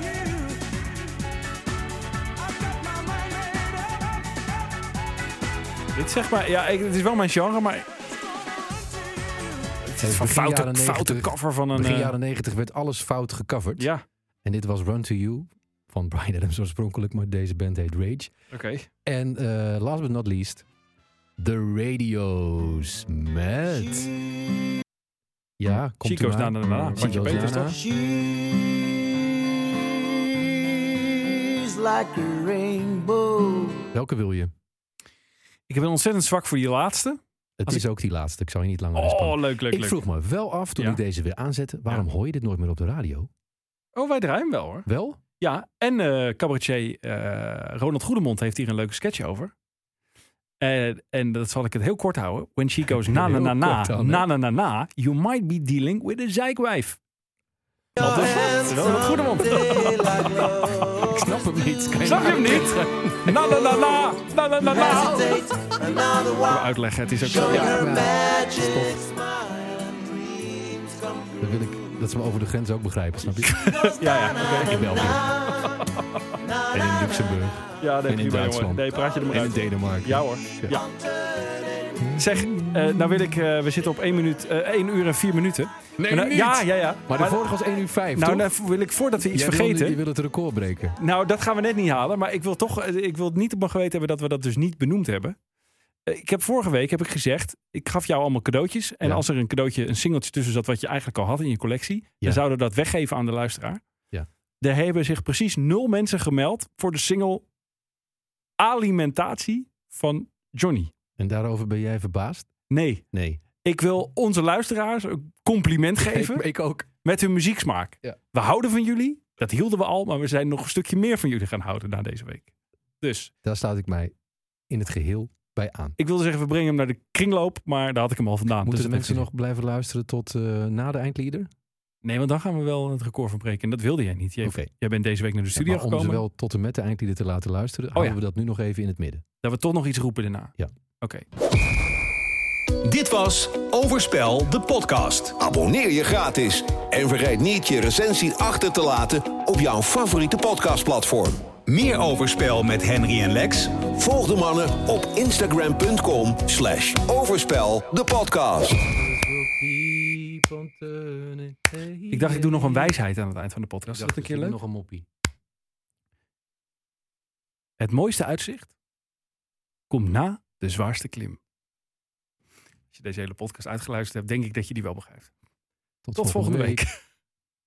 C: Dit zeg maar... Ja, ik- het is wel mijn genre, maar... Het is van
D: Begin
C: foute,
D: jaren
C: foute
D: 90
C: cover van een...
D: Begin
C: eh,
D: jaren 90 werd alles fout gecoverd.
C: Ja.
D: En dit was Run to You van Brian Adams oorspronkelijk, maar deze band heet Rage.
C: Oké.
D: En eh, last but not least, The Radios met... Ja, komt
C: Chico's
D: na
C: na na na na. Wat je
D: Chico's
C: beter is
D: na na.
C: toch?
K: She's like a rainbow.
D: Welke wil je?
C: Ik ben ontzettend zwak voor die laatste.
D: Het is ook die laatste, ik zou je niet langer
C: Oh,
D: weerspannen.
C: leuk, leuk,
D: Ik
C: leuk.
D: vroeg me wel af, toen
C: Ja.
D: ik deze weer aanzette, waarom hoor je dit nooit meer op de radio?
C: Oh, wij draaien wel hoor.
D: Wel?
C: Ja, en eh cabaretier eh, Ronald Goedemond heeft hier een leuke sketch over. En- en dat zal ik het heel kort houden. When she goes na na na
P: Heel kort
C: na,
P: dan, hè?
C: na na na na, you might be dealing with a zeikwijf. Wat is dat? Ronald Goedemond.
D: Ik snap hem niet. Kan
C: Snap je hem niet? Na na na na, na na na na.
K: Another
C: Ik wil Uitleggen, het is ook...
K: Her
C: Ja.
K: magic
D: Dat wil ik, dat ze me over de grens ook begrijpen, snap je?
C: Ja, ja, oké.
D: In België. En in Luxemburg.
C: Ja, nee,
D: en in
C: prima, jongen.
D: Duitsland.
C: Nee, praat je er maar
D: En in
C: uit.
D: Denemarken.
C: Ja hoor. Ja. Zeg, eh, nou wil ik, eh, we zitten op 1, minuut, eh, 1 uur en 4 minuten.
D: Nee,
C: Maar nou-
D: niet.
C: Ja, ja, ja.
D: Maar de vorige was 1 uur 5,
C: Nou,
D: toch?
C: nou wil ik voordat we iets
D: Jij wil-
C: vergeten.
D: je wil het record breken.
C: Nou, dat gaan we net niet halen. Maar ik wil toch, eh, ik wil het niet op mijn geweten hebben dat we dat dus niet benoemd hebben. Eh, Ik heb vorige week heb ik gezegd, ik gaf jou allemaal cadeautjes. En
D: Ja.
C: als er een cadeautje, een singeltje tussen zat wat je eigenlijk al had in je collectie,
D: Ja.
C: dan zouden we dat weggeven aan de luisteraar.
D: Ja.
C: Er hebben zich precies nul mensen gemeld voor de single Alimentatie van Johnny.
D: En daarover ben jij verbaasd?
C: Nee.
D: Nee.
C: Ik wil onze luisteraars een compliment geven.
D: Ik, ik ook.
C: Met hun muzieksmaak.
D: Ja.
C: We houden van jullie. Dat hielden we al. Maar we zijn nog een stukje meer van jullie gaan houden na deze week. Dus.
D: Daar sluit ik mij in het geheel bij aan.
C: Ik wilde zeggen, we brengen hem naar de kringloop, maar daar had ik hem al vandaan.
D: Moeten
C: Dus
D: de
C: dat
D: mensen
C: heeft-
D: nog blijven luisteren tot eh, na de eindlieder?
C: Nee, want dan gaan we wel het record verbreken. En dat wilde jij niet. Jij, jij bent deze week naar de studio
D: Ja, maar om
C: gekomen. Oh
D: ze wel tot en met de eindlieder te laten luisteren, houden we dat nu nog even in het midden.
C: Dat we toch nog iets roepen daarna.
D: Ja.
C: Oké.
A: Dit was Overspel, de podcast. Abonneer je gratis en vergeet niet je recensie achter te laten op jouw favoriete podcastplatform.
Q: Meer Overspel met Henry en Lex?
A: Volg de mannen op instagram.com slash overspel, de podcast.
C: Ik dacht, ik doe nog een wijsheid aan het eind van de podcast. Is
D: Ik
C: dat een
D: dacht,
C: keer leuk?
D: ik doe Nog een moppie.
C: Het mooiste uitzicht komt na de zwaarste klim. Als je deze hele podcast uitgeluisterd hebt, denk ik dat je die wel begrijpt. Tot, volgende
D: volgende
C: week.